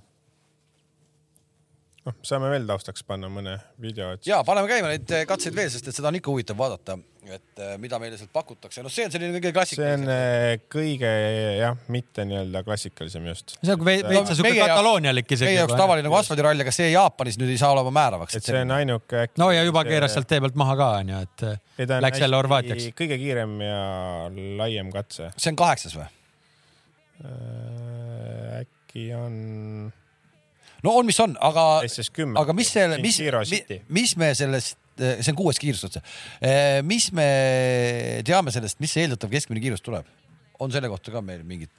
D: noh , saame veel taustaks panna mõne video , et
A: ja paneme käima neid eh, katseid veel , sest et seda on ikka huvitav vaadata , et eh, mida meile sealt pakutakse , noh , see on selline kõige
D: see on
A: klassikaline .
D: eh, kõige jah , mitte nii-öelda klassikalisem just .
B: see on nagu ve-
D: Et,
B: veitsa
A: No,
B: siuke
A: meie jaoks-
B: kataloonialik isegi .
A: meie jaoks tavaline nagu asfaldirall , aga see Jaapanis nüüd ei saa olema määravaks .
D: et see on ainuke .
B: no ja juba keeras sealt tee pealt maha ka onju , et läks jälle Horvaatiaks .
D: kõige kiirem ja laiem katse .
A: see on kaheksas või ?
D: Äh, äkki on
A: no on , mis on , aga ,
D: SS kümme .
A: aga mis selle , mis ,
D: City .
A: mis me sellest , see on kuues kiirus otse . mis me teame sellest , mis see eeldatav keskmine kiirus tuleb ? on selle kohta ka meil mingit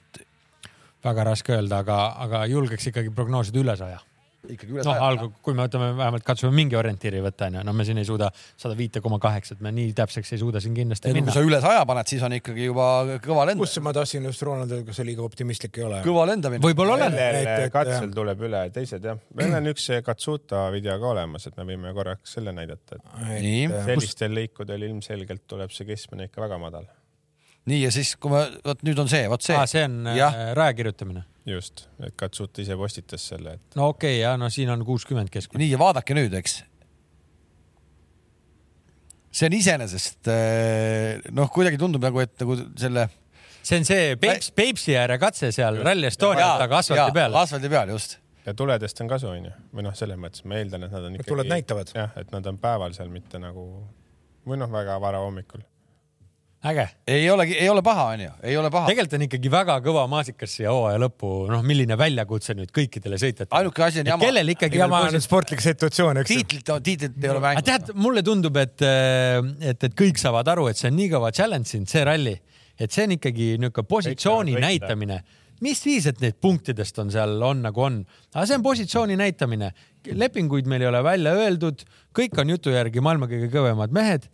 B: väga raske öelda , aga , aga julgeks ikkagi prognoosida üle saja
A: ikkagi üle
B: noh , algul , kui me võtame , vähemalt katsume mingi orientiiri võtta , onju , no me siin ei suuda sada viite koma kaheksat , me nii täpseks ei suuda siin kindlasti
A: ei no kui
B: minna .
A: sa üle saja paned , siis on ikkagi juba kõva lend ,
C: kus ma tahtsin just Ronald , kas sa liiga optimistlik ei ole ?
A: kõva lendamine .
B: võib-olla olen ,
C: et-
D: sellel
C: et-
D: katsel tuleb üle teised jah , meil on üks see Katsuta video ka olemas , et me võime korraks selle näidata , et
A: Nii.
C: äh,
D: sellistel lõikudel ilmselgelt tuleb see keskmine ikka väga madal .
A: nii ja siis , kui me , vot nüüd on see , vot see .
B: see on
A: jah ,
B: äh, raja kirjutamine .
D: just , et Katsuta ise postitas selle , et
B: no okei okay, , ja no siin on kuuskümmend keskmine .
A: nii ja vaadake nüüd , eks . see on iseenesest eh, noh , kuidagi tundub nagu , et nagu selle
B: see on see Peipsi , Peipsi ääre katse seal Rally
A: Jaa,
B: Estonial taga asfaldi
A: jaa,
B: peal .
A: asfaldi peal just .
D: ja tuledest on kasu , onju , või noh , selles mõttes ma eeldan , et nad on ikkagi .
C: tuled näitavad.
D: jah , et nad on päeval seal , mitte nagu või noh , väga varahommikul .
B: äge ,
A: ei olegi , ei ole paha , onju , ei ole paha .
B: tegelikult on ikkagi väga kõva maasikas siia hooaja lõppu , noh , milline väljakutse nüüd kõikidele sõitjatele .
A: Ainuke asi on jama.
B: kellel ikkagi
C: jama
B: veel
C: on sportlik situatsioon , eks ju .
A: tiitlit , tiitlit ei ole
B: aga tead
A: mängu .,
B: mulle tundub , et , et , et kõik saavad aru , et see on nii kõva challenge siin , see ralli , et see on ikkagi niisugune positsiooni
D: Kõik saavad võita.
B: näitamine . mis viis , et neid punktidest on seal , on nagu on , aga see on positsiooni näitamine . lepinguid meil ei ole välja öeldud , kõik on jutu järgi maailma kõige kõvemad mehed .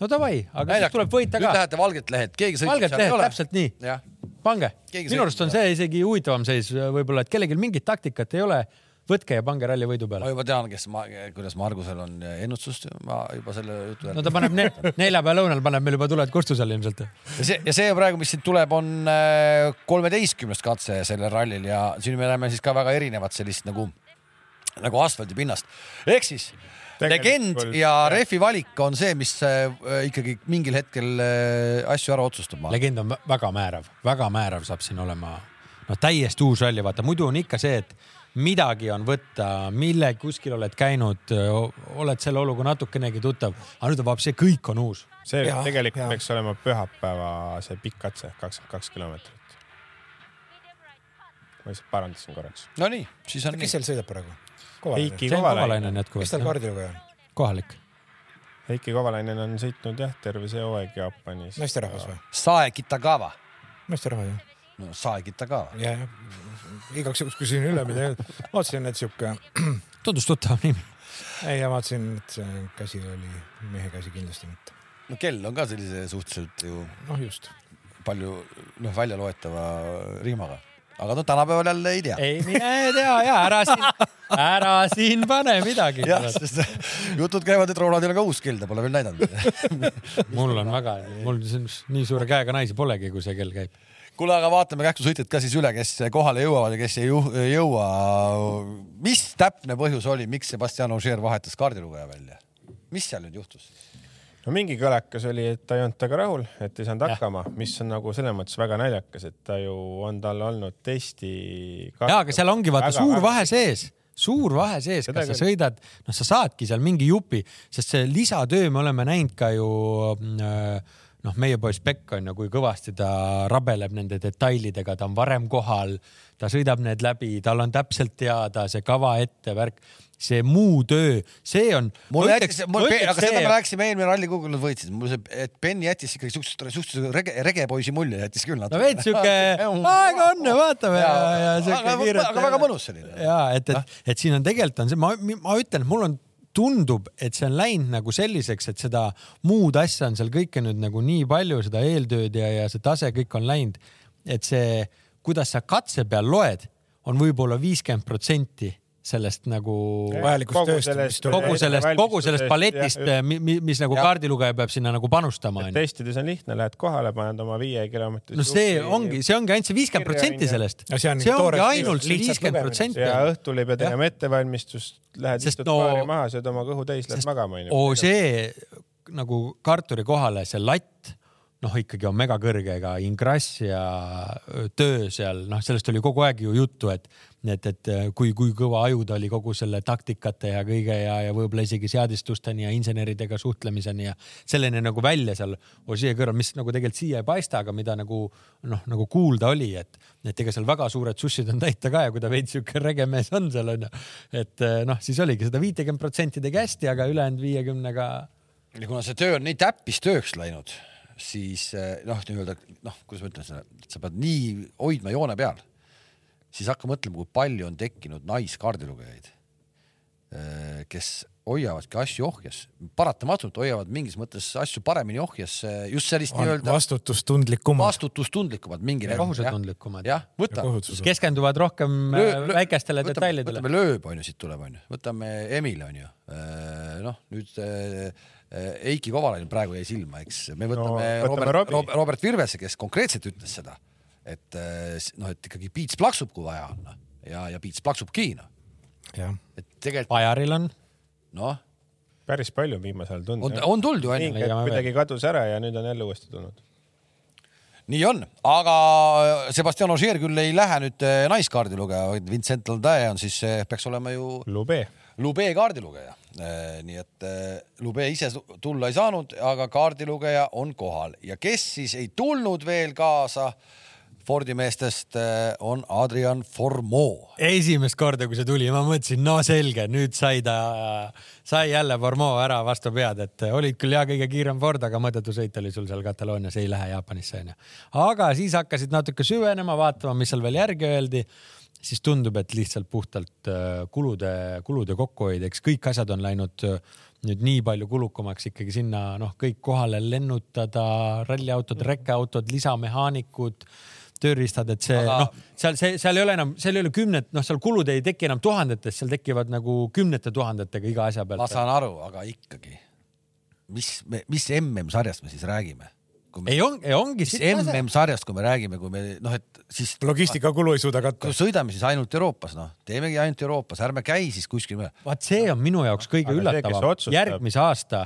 B: no davai , aga siis tuleb võita
A: nüüd
B: ka .
A: lähete valget lehed , keegi sõitma
B: valged lehed , täpselt nii .
A: jah ,
B: pange ,
A: Keegi
B: minu arust on
A: sõitma
B: see isegi huvitavam seis äh, võib-olla , et kellelgi mingit taktikat ei ole . võtke ja pange ralli võidu peale
A: ma . juba tean , kes ma , kuidas Margusel on ennustust , ma juba selle jutu
B: no ta paneb ne neljapäeva lõunal paneb meil juba tuled kustusele ilmselt .
A: ja see , ja see praegu , mis siit tuleb , on äh, kolmeteistkümnes katse sellel rallil ja siin me näeme siis ka väga erinevat sellist nagu , nagu asfaldipinnast . ehk siis legend
D: Tegelikult-
A: ja rehvi valik on see , mis äh, ikkagi mingil hetkel äh, asju ära otsustab .
B: legend on vä- väga määrav , väga määrav saab siin olema , noh , täiesti uus ralli , vaata muidu on ikka see , et midagi on võtta , mille kuskil oled käinud , oled selle oluga natukenegi tuttav , aga nüüd on vabalt see kõik on uus .
D: see ja,
C: Jah,
D: tegelikult
C: jah.
D: ja. peaks olema pühapäeva see pikk katse , kakskümmend kaks kilomeetrit . ma lihtsalt parandasin korraks .
A: Nonii , siis on
C: kes
A: nii .
C: seal sõidab praegu ?
D: Heiki
B: see on
D: Kovalainen ,
B: Kovalainen
C: kes tal
B: jätkuvalt ,
C: kaardilugeja on ?
B: kohalik .
D: Heiki Kovalainen on sõitnud jah , terve see hooaeg Jaapanis .
C: naisterahvas või ?
A: Sae Kitagawa .
C: naisterahvas jah .
A: no Sae Kitagawa .
C: ja , jah . igaks juhuks küsin üle , mida ei olnud . vaatasin , et sihuke ,
B: tundus tuttav nimi .
C: ei ja vaatasin , et see käsi oli mehe käsi kindlasti mitte .
A: no kell on ka sellise suhteliselt ju
C: noh , just .
A: palju noh , välja loetava riimaga . aga no tänapäeval jälle ei tea .
B: ei , mine tea ja ära siin , ära siin pane midagi .
A: jah , sest jutud käivad , et Rolandil on ka uus kilde , pole veel näidanud .
B: mul on väga , mul siin nii suure käega naisi polegi , kui see kell käib .
A: kuule , aga vaatame kähklusõitjad ka siis üle , kes kohale jõuavad ja kes ei ju- ei jõua . mis täpne põhjus oli , miks Sebastian Ogier vahetas kaardilugeja välja ? mis seal nüüd juhtus ?
D: no mingi kõlakas oli , et ta ei olnud temaga rahul , et ei saanud hakkama , mis on nagu selles mõttes väga naljakas , et ta ju on tal olnud testi .
B: ja , aga seal ongi vaata suur vahe . sees , suur vahe sees ,
D: Seda
B: kas sa
D: küll.
B: sõidad , noh , sa saadki seal mingi jupi , sest see lisatöö me oleme näinud ka ju äh, noh , meie poiss Pekk on ju , kui kõvasti ta rabeleb nende detailidega , ta on varem kohal , ta sõidab need läbi , tal on täpselt teada see kava ette , värk , see muu töö , see on .
A: mul jättis , mul , aga seda me rääkisime eelmine ralli , kuhu nad võitsid , mul see , et Ben jättis ikkagi siukest , siukest rege , regepoisi mulje jättis küll
B: no veits siuke aega on , vaatame ja , ja siuke
A: aga,
B: kiirelt .
A: aga väga mõnus selline .
B: ja et , et , et siin on tegelikult on see , ma , ma ütlen , mul on , tundub , et see on läinud nagu selliseks , et seda muud asja on seal kõike nüüd nagu nii palju , seda eeltööd ja , ja see tase kõik on läinud . et see , kuidas sa katse peal loed , on võib-olla viiskümmend protsenti sellest nagu
C: Vajalikust tööst, mis tuleb.
B: kogu sellest , kogu sellest paletist , mis nagu kaardilugeja peab sinna nagu panustama onju .
D: testides on lihtne , lähed kohale , paned oma viie kilomeetri .
B: no see ongi , see ongi ainult see viiskümmend protsenti
D: kirja-
B: sellest .
C: No see on
B: see ongi
C: toores-
B: ainult see
C: lihtsalt
B: viiskümmend protsenti
D: ja . õhtul ei pea tegema ettevalmistust , lähed
B: Sest
D: istud
B: no-
D: paari maha , sööd oma kõhu täis , lähed magama onju .
B: oo , see nagu kartuli kohale , see latt , noh , ikkagi on megakõrge , ega ingrass ja töö seal , noh , sellest oli kogu aeg ju juttu , et , et , et kui , kui kõva aju ta oli kogu selle taktikate ja kõige ja , ja võib-olla isegi seadistusteni ja inseneridega suhtlemiseni ja selleni nagu välja seal Ossie kõrval , mis nagu tegelikult siia ei paista , aga mida nagu noh , nagu kuulda oli , et , et ega seal väga suured sussid on täita ka ja kui ta veits siuke rege mees on seal onju , et noh , siis oligi seda viitekümmet protsenti tegi hästi , aga ülejäänud viiekümnega
A: ja kuna see töö on nii täppistööks läinud , siis eh, noh , nii-öelda noh , kuidas ma ütlen seda , sa pead nii hoidma joone peal , siis hakka mõtlema , kui palju on tekkinud naiskaardilugejaid , kes hoiavadki asju ohjes , paratamatult hoiavad mingis mõttes asju paremini ohjes , just sellist nii-öelda
C: vastutustundlikum .
A: vastutustundlikumad mingil
B: Kohusetundlikumad.
A: jah , võta .
B: siis
C: kohutused .
B: keskenduvad rohkem
A: Löö-
B: löö,
A: löö-
B: väikestele
A: võtame-
B: detailidele .
A: võtame lööb onju , siit tuleb onju , võtame Emil onju , noh nüüd eh, eh, Eiki Kovalainen praegu jäi silma , eks me võtame,
D: võtame
A: no, võtame
D: Robbie.
A: Robert, Robert Virvese , kes konkreetselt ütles seda , et eh, s- noh , et ikkagi piits plaksub , kui vaja on noh. ja , ja piits plaksubki noh ,
C: jah ,
A: et tegelikult
B: Pajaril on ,
A: noh ,
D: päris palju on viimasel ajal
A: on
D: tulnud .,
A: on tulnud ju onju .
D: ning , et
B: Leiame veel.
D: kuidagi kadus ära ja nüüd on jälle uuesti tulnud .
A: nii on , aga äh, Sebastian Ogier küll ei lähe nüüd eh, naiskaardilugeja , vaid Vincent Landae on siis , peaks olema ju
D: Lube .
A: Lube kaardilugeja . nii et eh, Lube ise su- tulla ei saanud , aga kaardilugeja on kohal ja kes siis ei tulnud veel kaasa Fordi meestest , on Adrian Formeau .
B: esimest korda , kui see tuli , ma mõtlesin , no selge , nüüd sai ta , sai jälle Vormo ära vastu pead , et olid küll jah , kõige kiirem Ford , aga mõttetu sõit oli sul seal Kataloonias , ei lähe Jaapanisse onju . aga siis hakkasid natuke süvenema , vaatama , mis seal veel järgi öeldi siis tundub , et lihtsalt puhtalt äh, kulude , kulude kokkuhoid , eks kõik asjad on läinud äh, nüüd nii palju kulukamaks ikkagi sinna , noh , kõik kohale lennutada , ralliautod , rekkeautod , lisamehaanikud , tööriistad , et see
A: Aga-
B: noh , seal see , seal ei ole enam , seal ei ole kümnet , noh , seal kulud ei teki enam tuhandetes , seal tekivad nagu kümnete tuhandetega iga asja
A: ma
B: pealt .
A: saan aru , aga ikkagi , mis , mis MM-sarjast me siis räägime ?
B: ei on, , ei ongi
A: mis
B: sitt asja.
A: MM-sarjast , kui me räägime , kui me noh , et siis
C: logistikakulu ei suuda katta
A: kui . sõidame siis ainult Euroopas , noh , teemegi ainult Euroopas , ärme käi siis kuskil mujal .
B: vaat see on minu jaoks kõige
D: Aga see, kes
B: üllatavam
D: otsustab-
B: järgmise aasta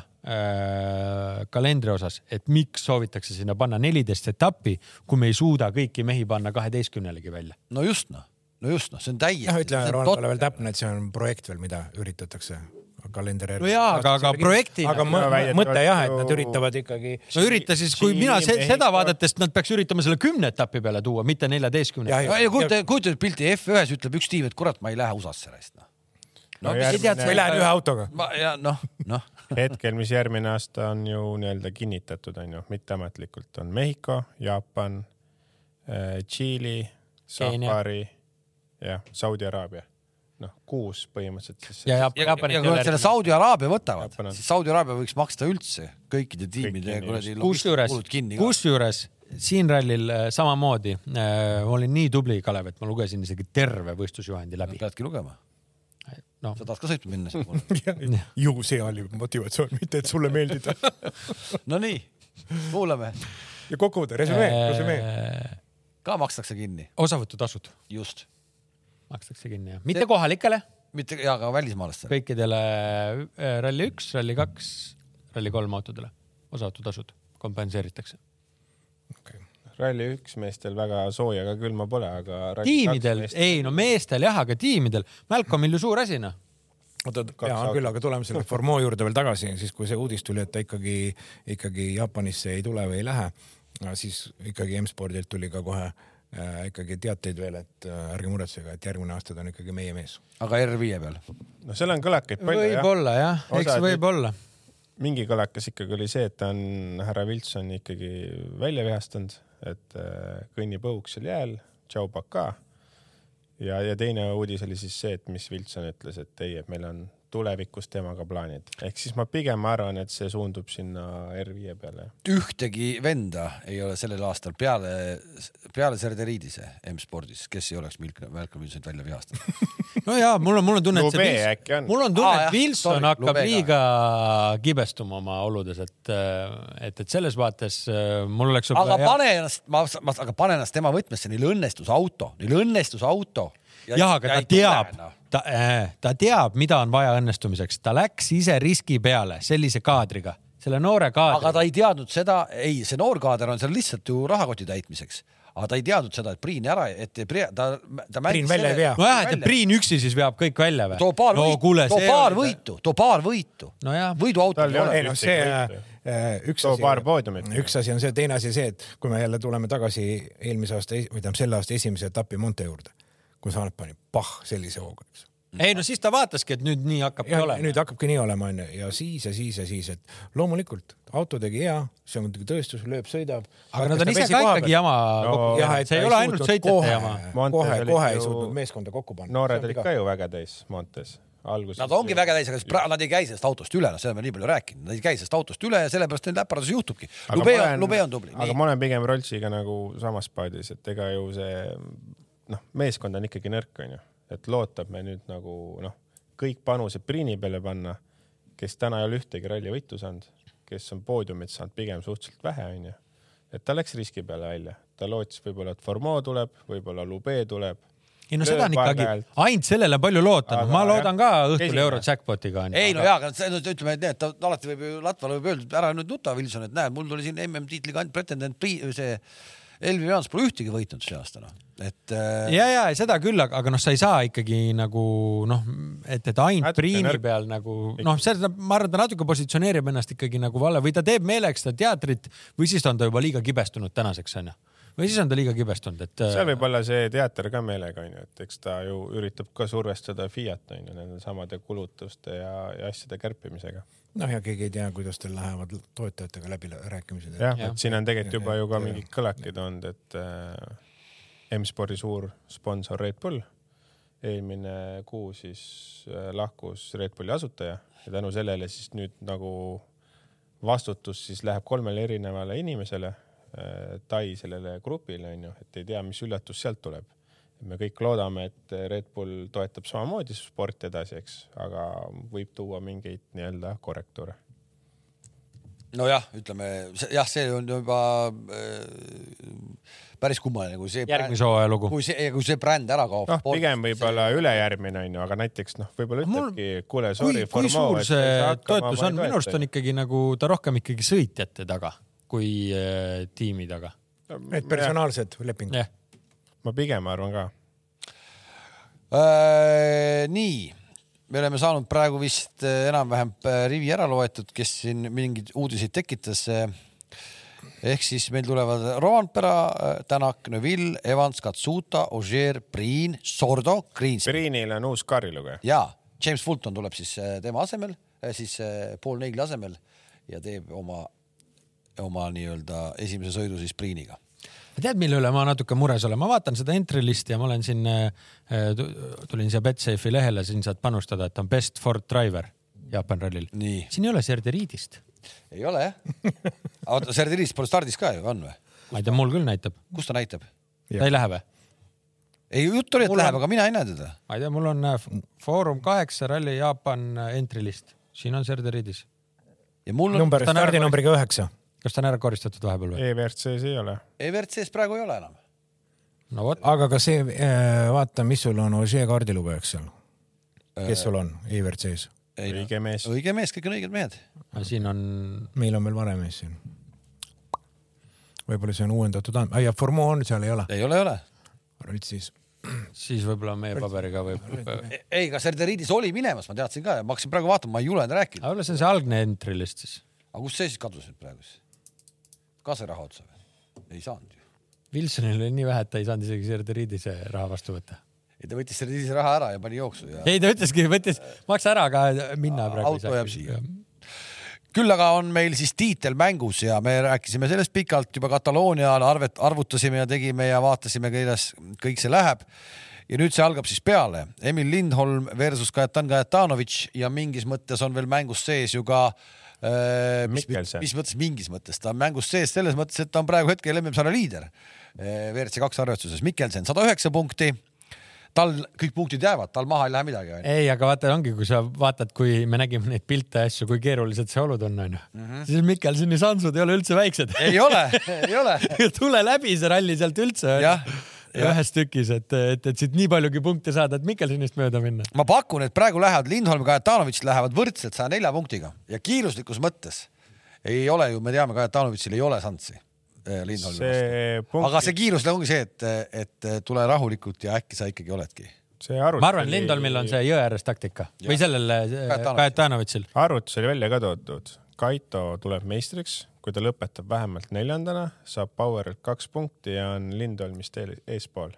B: äh, kalendri osas , et miks soovitakse sinna panna neliteist etappi , kui me ei suuda kõiki mehi panna kaheteistkümnelegi välja .
A: no just noh , no just noh , see on
C: jah ,
A: täiesti .
C: ütleme Ronaldole veel täpne , et see on projekt veel , mida üritatakse kalender järgi .
B: No jaa, aga- aga projekti-
C: aga mõ-
D: No väidetavalt
C: mõte jah , et nad
D: ju-
C: üritavad ikkagi .
B: no ürita siis , kui
D: Tšiili,
B: mina se
D: Mehhiko-
B: seda vaadates , nad peaks üritama selle kümne etapi peale tuua , mitte neljateistkümne .
C: Jah, jah.
A: ei kujuta , kujuta nüüd pilti , F1-s ütleb üks tiim , et kurat , ma ei lähe USA-sse raisk noh .
D: No
A: no mis
D: järgmine-
A: sa tead ,
C: või lähen ühe autoga .
A: ma ja noh , noh
D: hetkel , mis järgmine aasta on ju nii-öelda kinnitatud , on ju , mitteametlikult on Mehhiko , Jaapan , Tšiili ,
B: Keenia.
D: Safari , jah , Saudi Araabia . noh , kuus põhimõtteliselt siis .
B: ja
A: ja, ja kui nad selle
B: Jaapanis .
A: Saudi Araabia võtavad
D: Jaapan , on-
A: siis Saudi Araabia võiks maksta üldse kõikide tiimide
D: kinni
A: kuradi
B: kusjuures
A: kulud kinni , ka .
B: kusjuures siin rallil äh, samamoodi , ma olin nii tubli , Kalev , et ma lugesin isegi terve võistlusjuhendi läbi .
A: peadki lugema ,
B: noh ,
A: sa tahad ka sõitma minna siis mulle .
C: ju see oli motivatsioon , mitte et sulle meeldida .
A: no nii , kuulame ,
C: ja kokkuvõte , resümee , resümee .
A: ka makstakse kinni ,
B: äh, osavõtutasud
A: just ,
B: makstakse kinni , jah . mitte kohalikele ,
A: mitte ja ka välismaalastele .
B: kõikidele äh, ralli üks , ralli kaks , ralli kolm autodele osavõtutasud kompenseeritakse .
D: Rally üks meestel väga sooja ega külma pole , aga .
B: tiimidel , ei no meestel jah , aga tiimidel , Malcolmil ju suur asi noh .
C: oota , jaa , küll , aga tuleme selle Formeau juurde veel tagasi , siis kui see uudis tuli , et ta ikkagi , ikkagi Jaapanisse ei tule või ei lähe , siis ikkagi M-spordilt tuli ka kohe äh, ikkagi teateid veel , et äh, ärge muretsege , et järgmine aasta ta on ikkagi meie mees .
A: aga R5 peal ,
D: no noh, seal on kõlakaid palju jah .
B: võib-olla jah , eks
D: Osad-
B: võib-olla .
D: mingi kõlakas ikkagi oli see , et ta on härra Wilson ikkagi välja vihastanud , et äh, kõnnib õhuksel jääl , tšau baka . ja , ja teine uudis oli siis see , et mis Wilson ütles , et ei , et meil on tulevikus temaga plaanid , ehk siis ma pigem arvan , et see suundub sinna R5 peale .
A: ühtegi venda ei ole sellel aastal peale , peale Serderiidise M-spordis , kes ei oleks Milk- , Malcolm Wilsonit välja vihastanud .
B: no jaa , mul on , mul on tunne , et
D: Lube
B: see
D: äkki on?
B: mul on tunne ,
A: Aa, jah,
B: et Wilson
A: sorry,
B: hakkab
A: Lubega.
B: liiga kibestuma oma oludes , et , et , et selles vaates äh, mul oleks
A: aga
B: võib-olla hea-
A: pane ennast , ma , ma , aga pane ennast tema võtmesse , neil õnnestus auto , neil õnnestus auto .
B: jah , aga ta teab ,
A: noh.
B: ta , ta teab , mida on vaja õnnestumiseks , ta läks ise riski peale sellise kaadriga , selle noore
A: aga
B: kaadriga .
A: ta ei teadnud seda , ei , see noor kaader on seal lihtsalt ju rahakoti täitmiseks , aga ta ei teadnud seda , et Priin ära , et Priin- ta , ta mängis
C: Priin välja ei vea.
B: nojah , et Priin üksi siis veab kõik välja või ?
A: too paar
B: no
A: võitu ,
B: kuule ,
A: too
B: see
A: paar . võitu , too paar võitu
B: Nojah.
A: võiduauto
D: Tal
A: ei
D: ei
A: ole
D: ole.
C: ei noh , see
D: Ühtegi
C: äh, üks
D: Too
C: asi ,
D: paar poodiumit.
C: üks asi on see , teine asi see , et kui me jälle tuleme tagasi eelmise aasta es- või tähendab selle aasta esimese etapi Monte juurde , kui Saarep pani pah sellise hooga , eks .
B: ei no siis ta vaataski , et nüüd nii hakkabki
C: ja
B: olema .
C: nüüd hakkabki nii olema , onju , ja siis ja siis ja siis , et loomulikult auto tegi hea , see on muidugi tööstus , lööb , sõidab .
B: aga nad on ise ka ikkagi jama kokku
C: jah ,
B: teinud ,
C: et
B: see ei ole ainult sõitjate jama .
D: Montes
C: Äh, kohe ,
D: olid
C: kohe ei
D: ju-
C: suutnud meeskonda kokku panna .
D: noored olid ka ju väga täis Montes alguses .
A: Nad ongi väga täis , aga siis pra- nad ei käi sellest autost üle , noh , seda me nii palju rääkinud , nad ei käi sellest autost üle ja sellepärast neil läpardus juhtubki .
D: Aga
A: Lube
D: ma
A: on ,
D: olen-
A: Lube on tubli .
D: aga ma olen pigem Roltsiga nagu samas paadis , et ega ju see noh , meeskond on ikkagi nõrk , onju , et lootab me nüüd nagu noh , kõik panused Priini peale panna , kes täna ei ole ühtegi rallivõitu saanud , kes on poodiumit saanud pigem suhteliselt vähe , onju . et ta läks riski peale välja , ta lootis võib-olla , et Formeau tuleb , võib-olla Lube tuleb .
B: ei no seda on
D: lööb paar
B: ikkagi
D: käelt. ,
B: ainult sellele on palju loota , noh
D: Aga
B: ma
D: jah.
B: loodan ka õhtul
D: Esimene.
B: Eurojackpotiga on ju .
A: ei no jaa , aga see- no ütleme , et need , ta ta alati võib ju , Latval võib öelda , et ära nüüd nuta , Wilson , et näed , mul tuli siin MM-tiitli kand- , pretendent , see Elvi Jaans pole ühtegi võitnud see aasta , noh , et äh,
B: ja , ja seda küll , aga , aga noh , sa ei saa ikkagi nagu noh , et , et ainult
D: Natuke
B: priimi
D: nõrk.
B: peal nagu noh , seda ma arvan , ta natuke positsioneerib ennast ikkagi nagu vale või ta teeb meeleks seda teatrit või siis ta on ta juba liiga kibestunud tänaseks onju . või siis on ta liiga kibestunud , et .
D: seal võib olla see teater ka meelega onju , et eks ta ju üritab ka survestada Fiat onju nende samade kulutuste ja, ja asjade kärpimisega
C: noh , ja keegi ei tea , kuidas teil lähevad toetajatega läbirääkimised .
D: jah
B: Jah.
D: ja. , et siin on tegelikult juba ju ka
C: Jah.
D: mingid kõlakid olnud , et äh, M-spordi suur sponsor Red Bull eelmine kuu siis äh, lahkus Red Bulli asutaja ja tänu sellele siis nüüd nagu vastutus siis läheb kolmele erinevale inimesele äh, tai sellele grupile onju , et ei tea , mis üllatus sealt tuleb . me kõik loodame , et Red Bull toetab samamoodi sporti edasi , eks , aga võib tuua mingeid nii-öelda korrektuure .
A: nojah , ütleme see- jah , see on juba äh, päris kummaline , kui see
B: äh, järgmise hooaja lugu .
A: kui see , kui see bränd ära kaob
D: noh , pigem võib-olla ülejärgmine onju , aga näiteks noh , võib-olla
B: Mul-
D: ütlebki , kuule ,
B: kui
D: sorry ,,
B: kui suur see toetus on , minu arust on
D: ikka .
B: ikkagi nagu ta rohkem ikkagi sõitjate taga kui äh, tiimi taga .
C: et personaalsed lepingud .
B: jah ,
D: ma pigem arvan ka .
A: Äh, nii , me oleme saanud praegu vist äh, enam-vähem äh, rivi ära loetud , kes siin mingeid uudiseid tekitas . ehk siis meil tulevad Rovanpera , Tänak , Neville , Evans , Katsuta , Ožeer , Priin , Sordo , Kriins
D: Priinil on uus kaarilugeja .
A: ja James Fulton tuleb siis äh, tema asemel , siis äh, Paul Neigli asemel ja teeb oma , oma nii-öelda esimese sõidu siis Priiniga .
B: tead , mille üle ma natuke mures olen , ma vaatan seda entry list'i ja ma olen siin , tulin siia Betsafe'i lehele , siin saad panustada , et on best Ford driver Jaapan rallil .
A: Nii.
B: siin ei ole Serderiidist .
A: ei ole jah ? oota , Serdilis pole stardis ka ju , on või ?
B: ma ei tea , mul küll näitab .
A: kus ta näitab ?
B: ta ei lähe või ?
A: ei , jutt oli , et
B: Mul
A: läheb ,
B: on-
A: aga mina ei näe teda .
B: ma ei tea , mul on äh, F- Foorum kaheksa Rally Jaapan äh, entry list , siin on Serderiidis .
A: ja mul on ,
C: number ,
B: ta on ära
C: stardinumbriga üheksa .
B: kas ta on ära koristatud vahepeal või ?
D: EVRC-s ei ole .
A: EVRC-s praegu ei ole enam .
B: no vot ,
C: aga ka see , vaata , mis sul on Ožee kaardilugejaks seal . kes sul on EVRC-s ?
D: õige mees .
A: õige mees , kõik on õiged mehed .
B: siin on ,
C: meil on veel varem ees siin . võib-olla see on uuendatud and- , ja Formu on seal ei ole .
A: ei ole , ei ole .
C: nüüd siis .
B: siis võib-olla meie paberiga võib .
A: ei , aga Serderiidis oli minemas , ma teadsin ka , ma hakkasin praegu vaatama , ma ei julenud rääkida .
B: aga võib-olla see on see algne entry list siis .
A: aga kus see siis kadus nüüd praegu siis ? ka see raha otsa või ? ei saanud ju .
B: Wilsonil oli nii vähe , et ta ei saanud isegi Serderiidise raha vastu võtta .
A: ei , ta võttis Serderiidis raha ära ja pani jooksu ja .
B: ei , ta ütleski , võttis , maksa ära , aga minna praegu
A: Auto jääb siia. küll aga on meil siis tiitel mängus ja me rääkisime sellest pikalt juba Kataloonia ajal arvet , arvutasime ja tegime ja vaatasime , kuidas kõik see läheb . ja nüüd see algab siis peale Emil Lindholm versus Kajetan Kajetanovitš ja mingis mõttes on veel mängus sees ju ka äh, mis,
D: Mikkelsen.
A: mis mõttes mingis mõttes , ta on mängus sees selles mõttes , et ta on praegu hetkel MM-sarja liider äh, WRC kaks arvestuses , Mikkelsen sada üheksa punkti . tal kõik punktid jäävad , tal maha ei lähe midagi , onju .
B: ei , aga vaata , ongi , kui sa vaatad , kui me nägime neid pilte ja asju , kui keerulised see olud on , onju . siis Mikkelsoni sansud ei ole üldse väiksed .
A: Mhm. ei ole , ei ole
B: tule läbi see ralli sealt üldse .
A: Jah, jah.
B: ühes tükis , et , et , et siit nii paljugi punkte saada , et Mikkelsonist mööda minna .
A: ma pakun , et praegu lähevad Lindholm ja Kajetanovitš lähevad võrdselt saja nelja punktiga ja kiiruslikus mõttes ei ole ju , me teame , Kajetanovitšil ei ole šanssi eh, Lindholmi vastu .
D: see
A: aga
D: punkt ,
A: see kiirus ongi see , et , et tule rahulikult ja äkki sa ikkagi oledki .
D: see arvutus .
B: ma arvan , Lindholmil on . see jõe ääres taktika või sellel äh,
A: Kajetanovitšil.
B: Kajetanovitšil .
D: arvutus oli välja ka toodud . Kaito tuleb meistriks , kui ta lõpetab vähemalt neljandana , saab Powerilt kaks punkti ja on Lindholmist eel- eespool .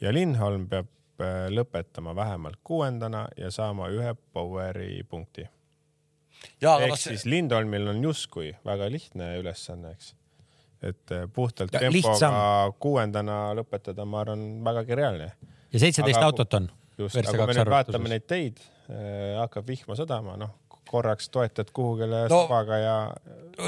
D: ja Lindholm peab äh, lõpetama vähemalt kuuendana ja saama ühe Poweri punkti .
A: ja , aga
D: ehk
A: noh ,
D: siis
A: see ,
D: Lindholmil on justkui väga lihtne ülesanne , eks . et äh, puhtalt
C: Ja
D: tempoga
C: lihtsam.
D: kuuendana lõpetada , ma arvan , vägagi reaalne
B: ja seitseteist
D: Aga-
B: autot on .
D: just , aga kui me nüüd vaatame neid teid , hakkab vihma sadama , noh korraks toetad kuhugile
A: No-
D: no, sabaga ja .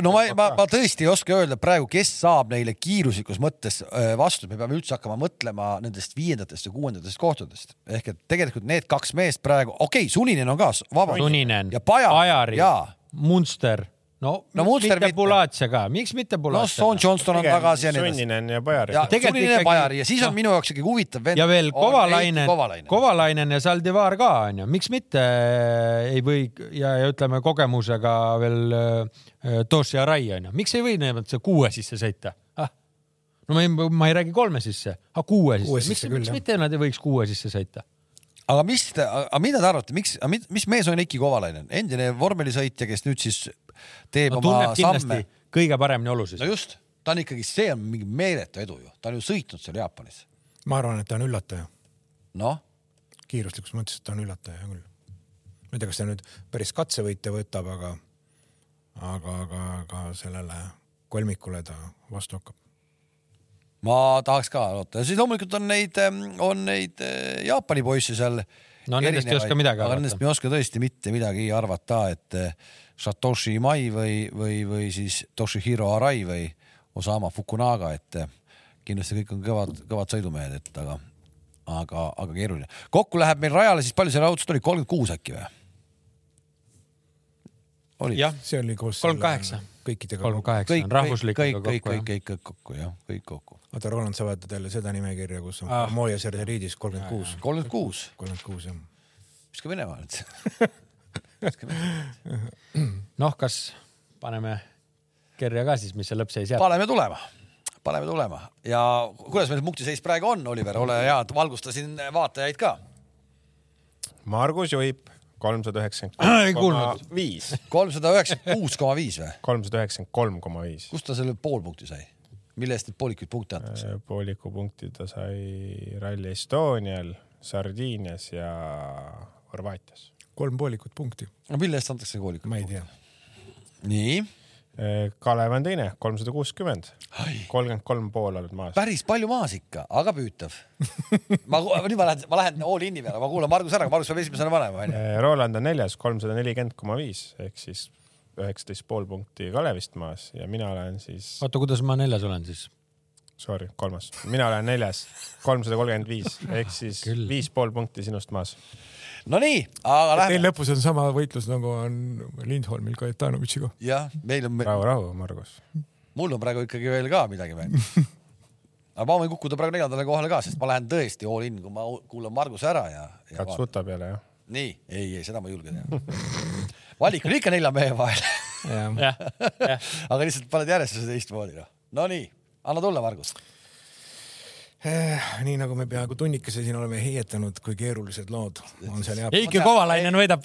A: no ma , ma , ma tõesti ei oska öelda praegu , kes saab neile kiiruslikus mõttes eh, vastu , me peame üldse hakkama mõtlema nendest viiendatest ja kuuendatest kohtadest ehk et tegelikult need kaks meest praegu , okei okay, , Suninen on ka s- vaba .
B: Suninen ,
A: ja Pajar,
B: Pajari
A: jaa. ,
B: Munster , no,
A: No Munster
B: no Munster mitte
A: mitte.
B: Bulatse ka , miks mitte
A: noh ,
B: Bulatse
A: Sean ? Johnston on tagasi ja nii edasi .
D: sunninen ja Bajar .
A: ja
B: Tegelikult
A: Suninen ikkagi...
B: ikkagi-
A: Pajari ja siis on
B: noh.
A: minu jaoks ikkagi huvitav vend .
B: ja veel Kovalainen ,
A: Kovalainen, Kovalainen. .
B: Kovalainen ja Saldivar ka onju , miks mitte äh, ei või ja , ja ütleme kogemusega veel äh, Toshi Arai onju , miks ei või nemad see kuue sisse sõita ah? ? no ma ei , ma ei räägi kolme sisse , aga kuue sisse,
C: Kuue
B: sisse , miks
C: sisse , küll,
B: miks
C: jah.
B: mitte nad ei võiks kuue sisse sõita ?
A: aga mis , aga mida te arvate , miks , mis mees on Eiki Kovalainen , endine vormelisõitja , kes nüüd siis teeb
B: no
A: no, oma
B: tunneb kindlasti
A: samme
B: samme. . kõige paremini olusid
A: no
B: no, .
A: just , ta on ikkagi , see on mingi meeletu edu ju , ta on ju sõitnud seal Jaapanis ,
C: ma arvan , et ta on üllataja .
A: noh
C: kiiruslikus mõttes , et ta on üllataja hea küll . ma ei tea , kas ta nüüd päris katsevõitja võtab , aga , aga , aga , aga sellele kolmikule ta vastu hakkab .
A: ma tahaks ka loota ja siis loomulikult on neid , on neid eh, Jaapani poisse seal .
B: No nendest ei oska midagi
A: arvata .
B: arvata.
A: Nendest me ei oska tõesti mitte midagi arvata , et eh, Satoshi Imai või , või , või siis Toshihiro Arai või Osama Fukunaga , et eh, kindlasti kõik on kõvad , kõvad sõidumehed , et aga , aga , aga keeruline . kokku läheb meil rajale siis palju seal autost oli , kolmkümmend kuus äkki või ? oli
B: jah ,
C: see oli koos .
B: kolm kaheksa.
C: kõikidega .
B: kolm . kaheksa
A: kõik , kõik ,
B: on
A: kõik ,
B: rahvuslikult
A: kõik , kõik ,
B: kokku .
A: kõik kokku jah , kõik kokku .
C: oota , Roland , sa vaatad jälle seda nimekirja , kus on
B: Ah.
C: ah. Moja Serderiidis kolmkümmend kuus .
A: kolmkümmend kuus ,
C: kolmkümmend kuus jah .
A: viska minema nüüd
B: noh , kas paneme kirja ka siis , mis see lõpp seis jääb ?
A: paneme tulema , paneme tulema ja kuidas meil punktiseis praegu on , Oliver , ole hea , valgusta siin vaatajaid ka .
D: Margus juhib kolmsada
B: Ah, ei
D: üheksakümmend
B: kuulnud.
D: viis ,
A: kolmsada üheksakümmend kuus koma viis või ?
D: kolmsada üheksakümmend kolm koma viis .
A: kust ta selle pool punkti sai ? mille eest need poolikuid punkte antakse ?
D: Eh, pooliku punkti ta sai Rally Estonial , Sardiinias ja Horvaatias .
C: kolm poolikut punkti ,
A: no mille eest antakse poolikud
C: ma ei ? tea .
A: nii ,
D: Äh, Kalev on teine , kolmsada kuuskümmend , kolmkümmend kolm pool oled maas .
A: päris palju maas ikka , aga püütav . ma , nüüd ma lähen , ma lähen all in'i
D: Äh,
A: peale , ma kuulan Margus ära , Margus peab esimesena panema onju .
D: Roland on neljas , kolmsada nelikümmend koma viis ehk siis üheksateist pool punkti Kalevist maas ja mina olen siis ,
B: oota , kuidas ma neljas olen siis ?
D: sorry , kolmas , mina olen neljas , kolmsada kolmkümmend viis ehk siis
B: Küll.
D: viis pool punkti sinust maas .
A: Nonii , aga
C: Teil
A: lähme .
C: lõpus on sama võitlus nagu on Lindholmil Kajetanovitšiga .
A: jah , meil on ,
D: rahu , rahu , Margus .
A: mul on praegu ikkagi veel ka midagi mängida . aga ma võin kukkuda praegu neljandale kohale ka , sest ma lähen tõesti all in , kui ma u- kuulan Marguse ära ja, ja .
D: kaks vuta peale jah ?
A: nii , ei , ei seda ma ei julge teha . valik on ikka nelja mehe vahel ,
B: jah ,
A: aga lihtsalt paned järjestuse teistmoodi noh . Nonii , anna tulla , Margus .
C: nii nagu me peaaegu tunnikese siin oleme heietanud , kui keerulised lood on seal Jaapanis .
B: Heiki Kovalainen võidab .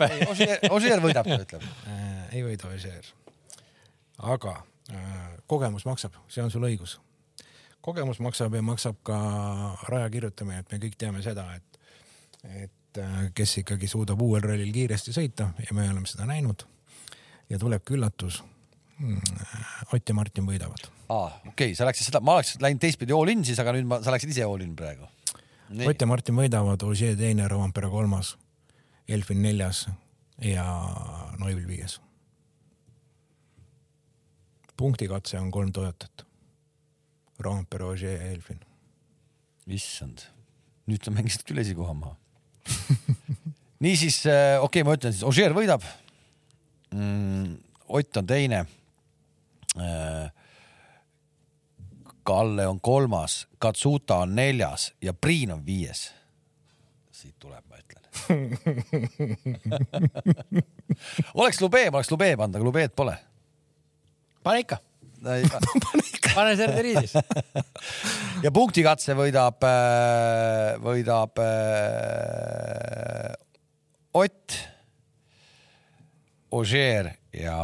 A: Osier võidab , ta ütleb .
C: äh, ei võida Vežeer . aga äh, kogemus maksab , see on sul õigus . kogemus maksab ja maksab ka raja kirjutamine , et me kõik teame seda , et , et äh, kes ikkagi suudab uuel rallil kiiresti sõita ja me oleme seda näinud ja tulebki üllatus . äh, Ott ja Martin võidavad .
A: aa , okei okay, , sa läksid seda , ma oleks läinud teistpidi all in siis , aga nüüd ma , sa läksid ise all in praegu .
C: Ott ja Martin võidavad , Ožee teine , Rompere kolmas , Elfin neljas ja Noivil viies . punktikatse on kolm Toyotat . Rompere , Ožee ja Elfin .
A: issand , nüüd sa mängisid küll esikoha maha . niisiis , okei okay, , ma ütlen siis , Ožeer võidab mm, . Ott on teine . Kalle on kolmas , Katsuta on neljas ja Priin on viies . siit tuleb , ma ütlen . oleks Lube , ma oleks Lube pannud , aga Lube'd pole .
B: pane ikka ,
A: pane
B: pane serde riidis .
A: ja punktikatse võidab , võidab äh, Ott , Ožeer ja ,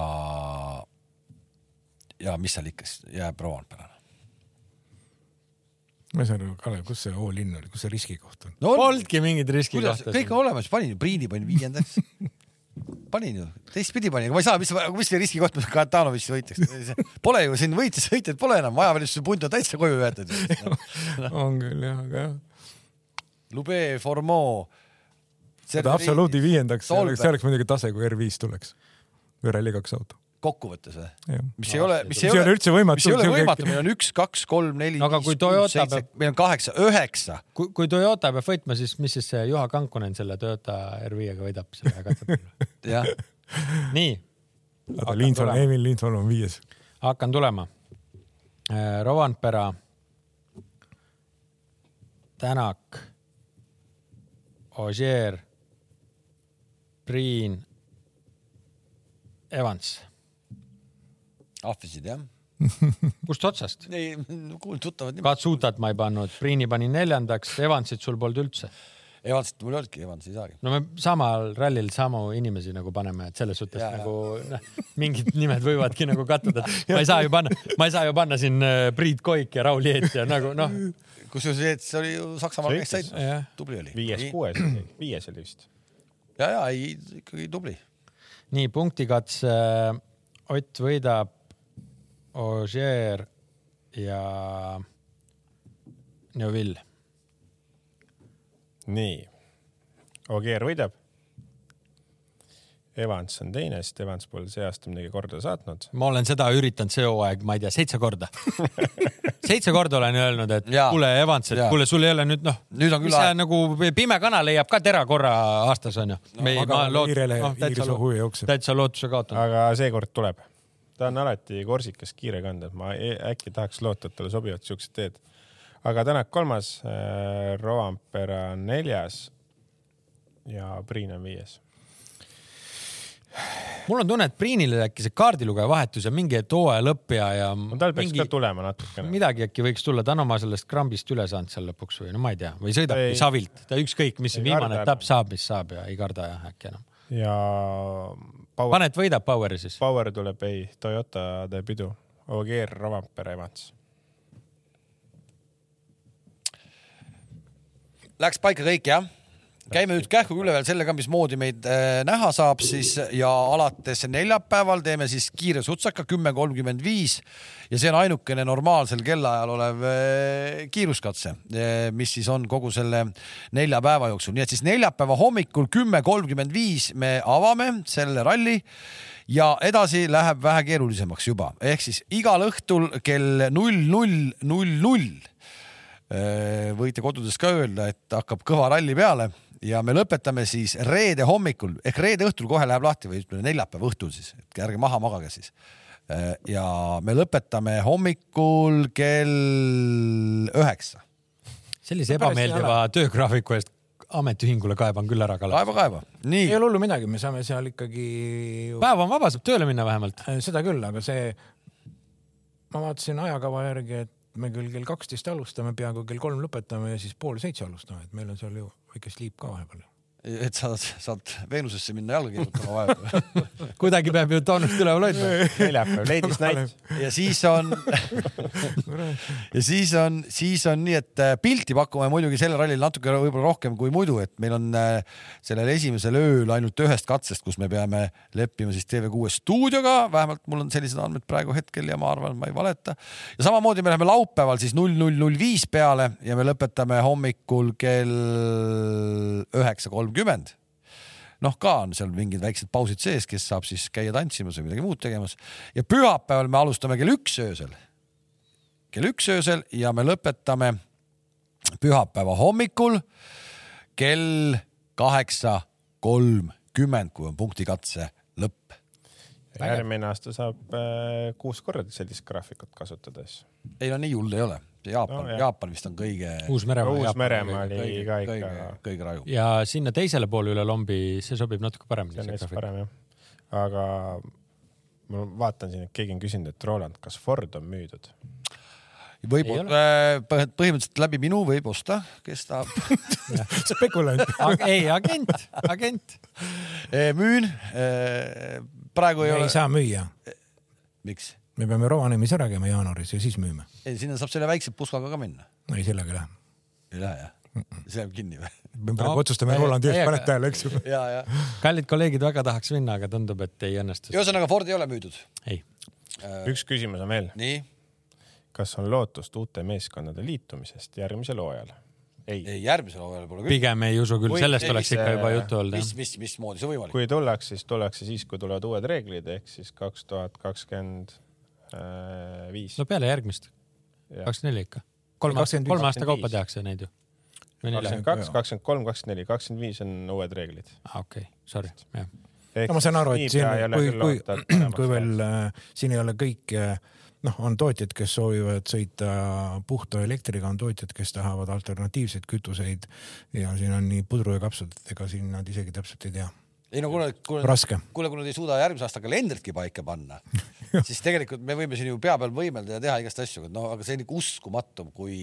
A: ja mis seal ikka siis jääb Rovanperale .
C: ma ei saa aru , Kalev , kus see all-in oli , kus see riskikoht on ?
A: no on ,
B: Polnudki mingit riski
A: kuidas ,
B: kohta .
A: kõik on olemas , panin ju , Priini panin viiendaks . panin ju , teistpidi panin , aga ma ei saa , mis , mis see riskikoht , mis Katanovitš võitaks . Pole ju siin võitja , sõitjaid pole enam , ajavälistuse punt on täitsa koju jäetud .
C: on küll jah , aga jah .
A: Lube , Formeau .
C: absoluudi viiendaks , see oleks ,
A: Solberg.
C: see oleks muidugi tase , kui R5 tuleks . või Rally2 auto .
A: kokkuvõttes või ?
C: jah .
A: mis ei ole , mis ei
C: See ei ole
A: ole
C: üldse võimatu,
A: mis ei ole
C: see on
A: võimatu ,
C: kõik-
A: meil on üks , kaks , kolm , neli ,
B: Aga kui
A: viis ,
B: Toyota
A: kuus , seitse
B: peab- ,
A: meil on kaheksa , üheksa .
B: kui , kui Toyota peab võitma , siis mis siis see Juha Kankunen selle Toyota R5-ga võidab selle ja katseb minna ?
A: jah ,
B: nii ,
C: aga Lindholm , Emil Lindholm on viies .
B: hakkan tulema . Äh, Rovanpera , Tänak , Ožeer , Priin , Evans .
A: ahvisid jah .
B: kust otsast ?
A: ei , kuulnud tuttavad nimi .
B: Katsutat ma ei pannud , Priini panin neljandaks , Evansit sul polnud üldse .
A: Evansit mul ei olnudki , Evans ei saagi .
B: no me samal rallil samu inimesi nagu paneme , et selles suhtes
A: Jaa,
B: ja,
A: jaa.
B: nagu noh , mingid nimed võivadki nagu kattuda , et ma ei saa ju panna , ma ei saa ju panna siin äh, Priit Koik ja Raul Jeet ja nagu noh ,
A: kusjuures Jeets oli ju Saksamaal , kes
D: Sõitis.
A: said ,
B: jah .
A: tubli oli .
D: viies-kuues , viies oli vist .
A: ja , ja ei ikkagi tubli .
B: nii punktikatse Ott võidab , Ožeer ja Neuvill .
D: nii , Ogier võidab . Evans on teine , sest Evans pole see aasta midagi korda saatnud .
B: ma olen seda üritanud see hooaeg , ma ei tea , seitse korda . seitse korda olen öelnud , et
A: Jaa.
B: kuule , Evans , et
A: Jaa.
B: kuule , sul ei ole nüüd noh ,
A: Nüüd on küll
B: mis sa
A: aeg.
B: nagu pime kana leiab ka tera korra aastas onju no,
C: aga Iirele-
B: Ah,
C: Iirise ohu ei jookse.
B: noh, täitsa lootuse kaotanud .
D: aga seekord tuleb . ta on alati korsikas kiire kanda , ma e- äkki tahaks loota , et talle sobivad siuksed teed . aga Tänak kolmas , Roampere on neljas ja Priin on viies .
B: mul on tunne , et Priinile äkki see kaardilugeja vahetus ja mingi et hooaja lõpp ja , ja .
D: no tal peaks ka tulema natukene .
B: midagi äkki võiks tulla , ta on oma sellest krambist üle saanud seal lõpuks või no ma ei tea , või
D: Ei.
B: sõidabki savilt , ta ükskõik , mis
D: Ei
B: viimane
D: karda enam.
B: etapp saab , mis saab ja ei karda jah äkki enam .
D: ja Power ,
B: pane , et võidab Poweri siis .
D: Power tuleb , ei , Toyota teeb pidu . Ogier , Roampere , Evans .
A: Läks paika kõik jah ? käime nüüd kähku üle veel sellega , mismoodi meid äh, näha saab siis ja alates neljapäeval teeme siis kiire sutsaka kümme kolmkümmend viis ja see on ainukene normaalsel kellaajal olev äh, kiiruskatse , mis siis on kogu selle nelja päeva jooksul , nii et siis neljapäeva hommikul kümme kolmkümmend viis me avame selle ralli ja edasi läheb vähe keerulisemaks juba , ehk siis igal õhtul kell null null null null Äh, võite kodudes ka öelda , et hakkab kõva ralli peale ja me lõpetame siis reede hommikul ehk reede õhtul kohe läheb lahti või ütleme neljapäeva õhtul siis , et ärge maha magage siis . ja me lõpetame hommikul kell üheksa .
B: sellise
C: No päris
B: ebameeldiva töögraafiku eest ametiühingule kaeban küll ära , Kalev .
A: kaeva , kaeva . nii
C: ei , ole hullu midagi , me saame seal ikkagi ju... ,
B: päev on vaba , saab tööle minna vähemalt .
C: Äh, seda küll , aga see , ma vaatasin ajakava järgi , et me küll kell kaksteist alustame , peaaegu kell kolm lõpetame ja siis pool seitse alustame , et meil on seal ju väike sleep ka vahepeal .
A: et sa saad Veenusesse minna jalga kirjutama vahepeal
B: kuidagi peab ju toonust üleval hoidma .
D: neljapäev , ladies night .
A: ja siis on ja siis on , siis on nii , et äh, pilti pakume muidugi sellel rallil natuke võib-olla rohkem kui muidu , et meil on äh, sellel esimesel ööl ainult ühest katsest , kus me peame leppima siis TV6 stuudioga , vähemalt mul on sellised andmed praegu hetkel ja ma arvan , et ma ei valeta . ja samamoodi me läheme laupäeval siis null null null viis peale ja me lõpetame hommikul kell üheksa kolmkümmend noh , ka on seal mingid väiksed pausid sees , kes saab siis käia tantsimas või midagi muud tegemas ja pühapäeval me alustame kell üks öösel , kell üks öösel ja me lõpetame pühapäeva hommikul kell kaheksa kolmkümmend , kui on punktikatse lõpp .
D: järgmine aasta saab äh, kuus korda sellist graafikut kasutades .
A: ei no nii hull ei ole , Jaapan
D: No
A: no, ,
D: jah.
A: Jaapan vist on kõige ,
B: Uus-Meremaa .
D: Uus-Meremaa oli
A: kõige ,
D: ka
A: kõige
D: ikka ,,
A: kõige rajum .
B: ja sinna teisele poole üle lombi , see sobib natuke paremini .
D: see on hästi parem jah . aga ma vaatan siin , et keegi on küsinud , et Roland , kas Ford on müüdud ?
A: võib äh,
B: Ei ,
A: põhimõtteliselt läbi minu võib osta , kes tahab
C: spekulant .
B: ei , agent , agent .
A: äh, müün . praegu
C: me
A: ei
C: ei
A: ole ,
C: saa müüa ,
A: miks ?
C: me peame Rovaniemis ära käima jaanuaris ja siis müüme .
A: ei , sinna saab selle väikse puskaga ka minna .
C: ei , sellega ei lähe .
A: ei lähe jah ? see jääb kinni või ?
C: me
B: No,
C: praegu otsustame
B: täie-
C: Rolandi eest ,
B: täiega.
C: paned tähele , eks ju .
A: ja , ja .
B: kallid kolleegid , väga tahaks minna , aga tundub , et ei õnnestu .
A: ühesõnaga Ford ei ole müüdud .
B: ei ,
D: üks küsimus on veel ,
A: nii ?
D: kas on lootust uute meeskondade liitumisest järgmisel hooajal ? ei ,
A: ei , järgmisel hooajal pole küll .
B: pigem ei usu küll ,
D: Või
B: sellest
D: see,
B: oleks
D: mis,
B: ikka juba
D: äh,
B: juttu olnud
A: mis
B: jah .,
A: mis , mismoodi see võimalik ?
D: kui tullakse , siis tullakse siis , kui tulevad uued reeglid ehk siis kaks tuhat kakskümmend viis .
B: no peale järgmist ,
D: Jah.
B: kakskümmend neli ikka .
C: Ei,
B: kolme
C: 25, ,
B: kolme aasta kaupa
D: 25.
B: tehakse neid ju . või nelja ?
D: kakskümmend kaks , kakskümmend kolm , kakskümmend neli , kakskümmend viis on uued reeglid .
B: aa , Ah, okei , sorry , jah .
C: no ma saan aru , et siin , kui , kui , kui veel äh, siin ei ole kõik , noh , on tootjad , kes soovivad sõita puhta elektriga , on tootjad , kes tahavad alternatiivseid kütuseid ja siin on nii pudru ja kapsad , et ega siin nad isegi täpselt ei tea .
A: ei no kuule , kuule ,
C: raske .
A: kuule , kui nad ei suuda järgmise aasta kalendritki paika panna , siis tegelikult me võime siin ju pea peal võimelda ja teha igast asju , no aga see on ikka uskumatu , kui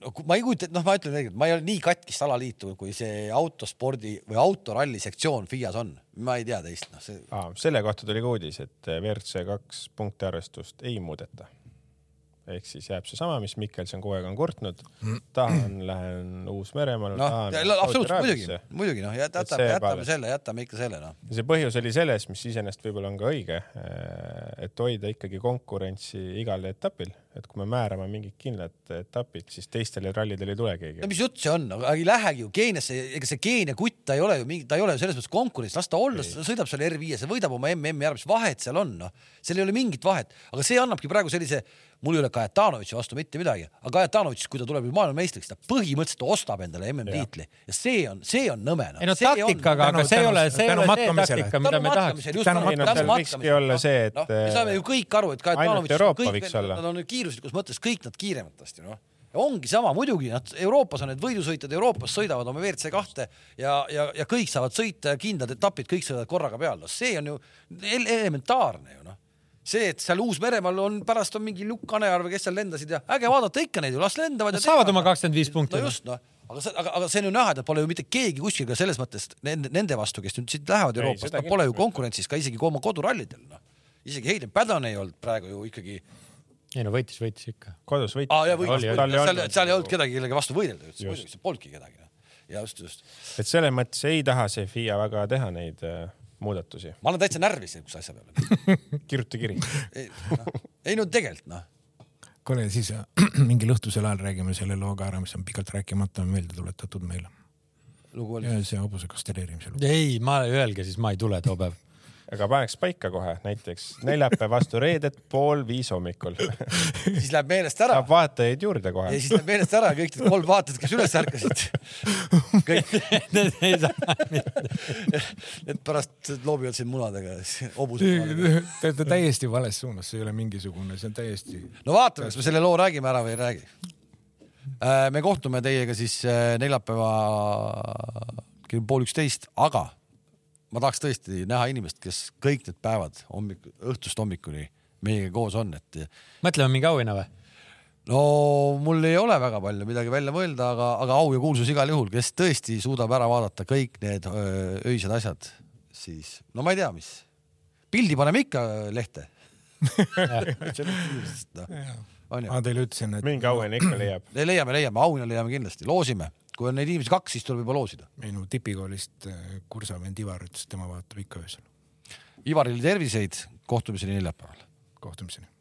A: no kui- ma ei kujuta , noh , ma ütlen tegelikult , ma ei ole nii katkist alaliitu , kui see autospordi või autoralli sektsioon FIAs on , ma ei tea teist , noh , see
D: ah, . selle kohta tuli ka uudis , et eh, WRC kaks punkti arvestust ei muudeta . ehk siis jääb seesama , mis Mikkelson kogu aeg on kurtnud . tahan , lähen
A: Mm.
D: Uus-Meremaale
A: noh ,
D: no, ,
A: absoluutselt muidugi , muidugi noh ,
D: Et
A: jätame ,
D: see jääb
A: jätame
D: alles.
A: selle , jätame ikka selle noh .
D: ja see põhjus oli selles , mis iseenesest võib-olla on ka õige , et hoida ikkagi konkurentsi igal etapil , et kui me määrame mingid kindlad etapid , siis teistele rallidele ei tule
A: no
D: keegi .
A: mis jutt see on , aga ei lähegi ju Keeniasse , ega see Keenia kutt , ta ei ole ju mingi , ta ei ole ju selles mõttes konkurents , las ta olla , ta sõidab seal R5-s ja võidab oma MM-i ära , mis vahet seal on , noh . seal ei ole mingit vahet , aga see annabki praegu sellise , mul ei ole Kajatanovitši vastu mitte midagi , aga Kajatanovitš , kui ta tuleb nüüd maailmameistriks , ta põhimõtteliselt ostab endale MM-tiitli ja see on , see on nõme noh.
B: ei no
A: See on-
B: taktikaga , aga
C: Tänu-
B: see ei
C: tänu-
B: ole , see ei
C: tänu
B: ole see
C: matkamisele.
B: taktika , mida me tahaks .
A: just
C: Tänu
A: tänu
D: ei no seal võikski
A: matkamisele .
D: olla see , et
A: noh , me saame ju kõik aru , et
D: ainult
A: Kajatanovitš
D: Euroopa
A: kõik
D: võiks
A: veel-
D: olla.
A: Nad on ju kiiruslikus mõttes kõik nad kiirematest ju noh . ongi sama muidugi , nad Euroopas on need võidusõitjad , Euroopas sõidavad oma WRC kahte ja , ja , ja kõik saavad sõita ja kindlad etapid , kõik sõidavad korraga peal , noh , see on ju el elementaarne ju noh see , et seal Uus-Meremaal on , pärast on mingi Lukk Kanearv , kes seal lendasid ja äge vaadata ikka neid ju , las lendavad .
B: Nad saavad oma 25 punkti,
A: no
B: noh.
A: just noh , aga see , aga , aga see on ju näha , et nad pole ju mitte keegi kuskil ka selles mõttes nende , nende vastu , kes nüüd siit lähevad
D: Ei,
A: Euroopast ,
D: seda
A: nad pole ju
D: kindlasti mitte.
A: konkurentsis ka isegi kui oma kodurallidel noh . isegi Hayden Padden ei olnud praegu ju ikkagi ,
B: ei no võitis , võitis ikka .
D: kodus võitis
A: seal , seal ei olnud
D: kedagi .
A: kedagi , kellegi vastu võidelda üldse , muidugi seal polnudki kedagi noh. just , just .
D: et selles mõttes ei taha see FIA väga teha neid äh, muudatusi .
A: ma olen täitsa närvis niisuguse asja peale .
D: kirjuta kiri .
A: ei, noh. ei no tegelikult noh ,
C: kuule , siis äh, mingil õhtusel ajal räägime selle looga ära , mis on pikalt rääkimata meelde tuletatud meile .
A: lugu oli .
C: see hobuse kastreerimise lugu .
B: ei , ma , öelge siis , ma ei tule too päev .
D: aga paneks paika kohe , näiteks neljapäev vastu reedet pool viis hommikul .
A: siis läheb meelest ära
D: saab vaatajaid
A: ja
D: juurde kohe .
A: siis läheb meelest ära ja kõik need kolm vaatajat , kes üles ärkasid , kõik need pärast loobivad siin munadega , hobusemunadega .
C: Te olete täiesti vales suunas , see ei ole mingisugune , see on täiesti .
A: no vaatame , kas me selle loo räägime ära või ei räägi . me kohtume teiega siis äh, neljapäeva kell pool üksteist , aga ma tahaks tõesti näha inimest , kes kõik need päevad hommik , õhtust hommikuni meiega koos on , et
B: mõtleme mingi auhinna või ?
A: no mul ei ole väga palju midagi välja mõelda , aga , aga au ja kuulsus igal juhul , kes tõesti suudab ära vaadata kõik need öö, öised asjad , siis no ma ei tea , mis . pildi paneme ikka lehte onju .
C: ma Ah, teile ütlesin , et
D: mingi auhinna ikka leiab .
A: noh, Le- leiame , leiame , auhinna leiame kindlasti , loosime , kui on neid inimesi kaks , siis tuleb juba loosida .
C: minu tipikoolist äh, kursavend Ivar ütles , et tema vaatab ikka öösel .
A: Ivarile terviseid , kohtumiseni neljapäeval .
C: kohtumiseni .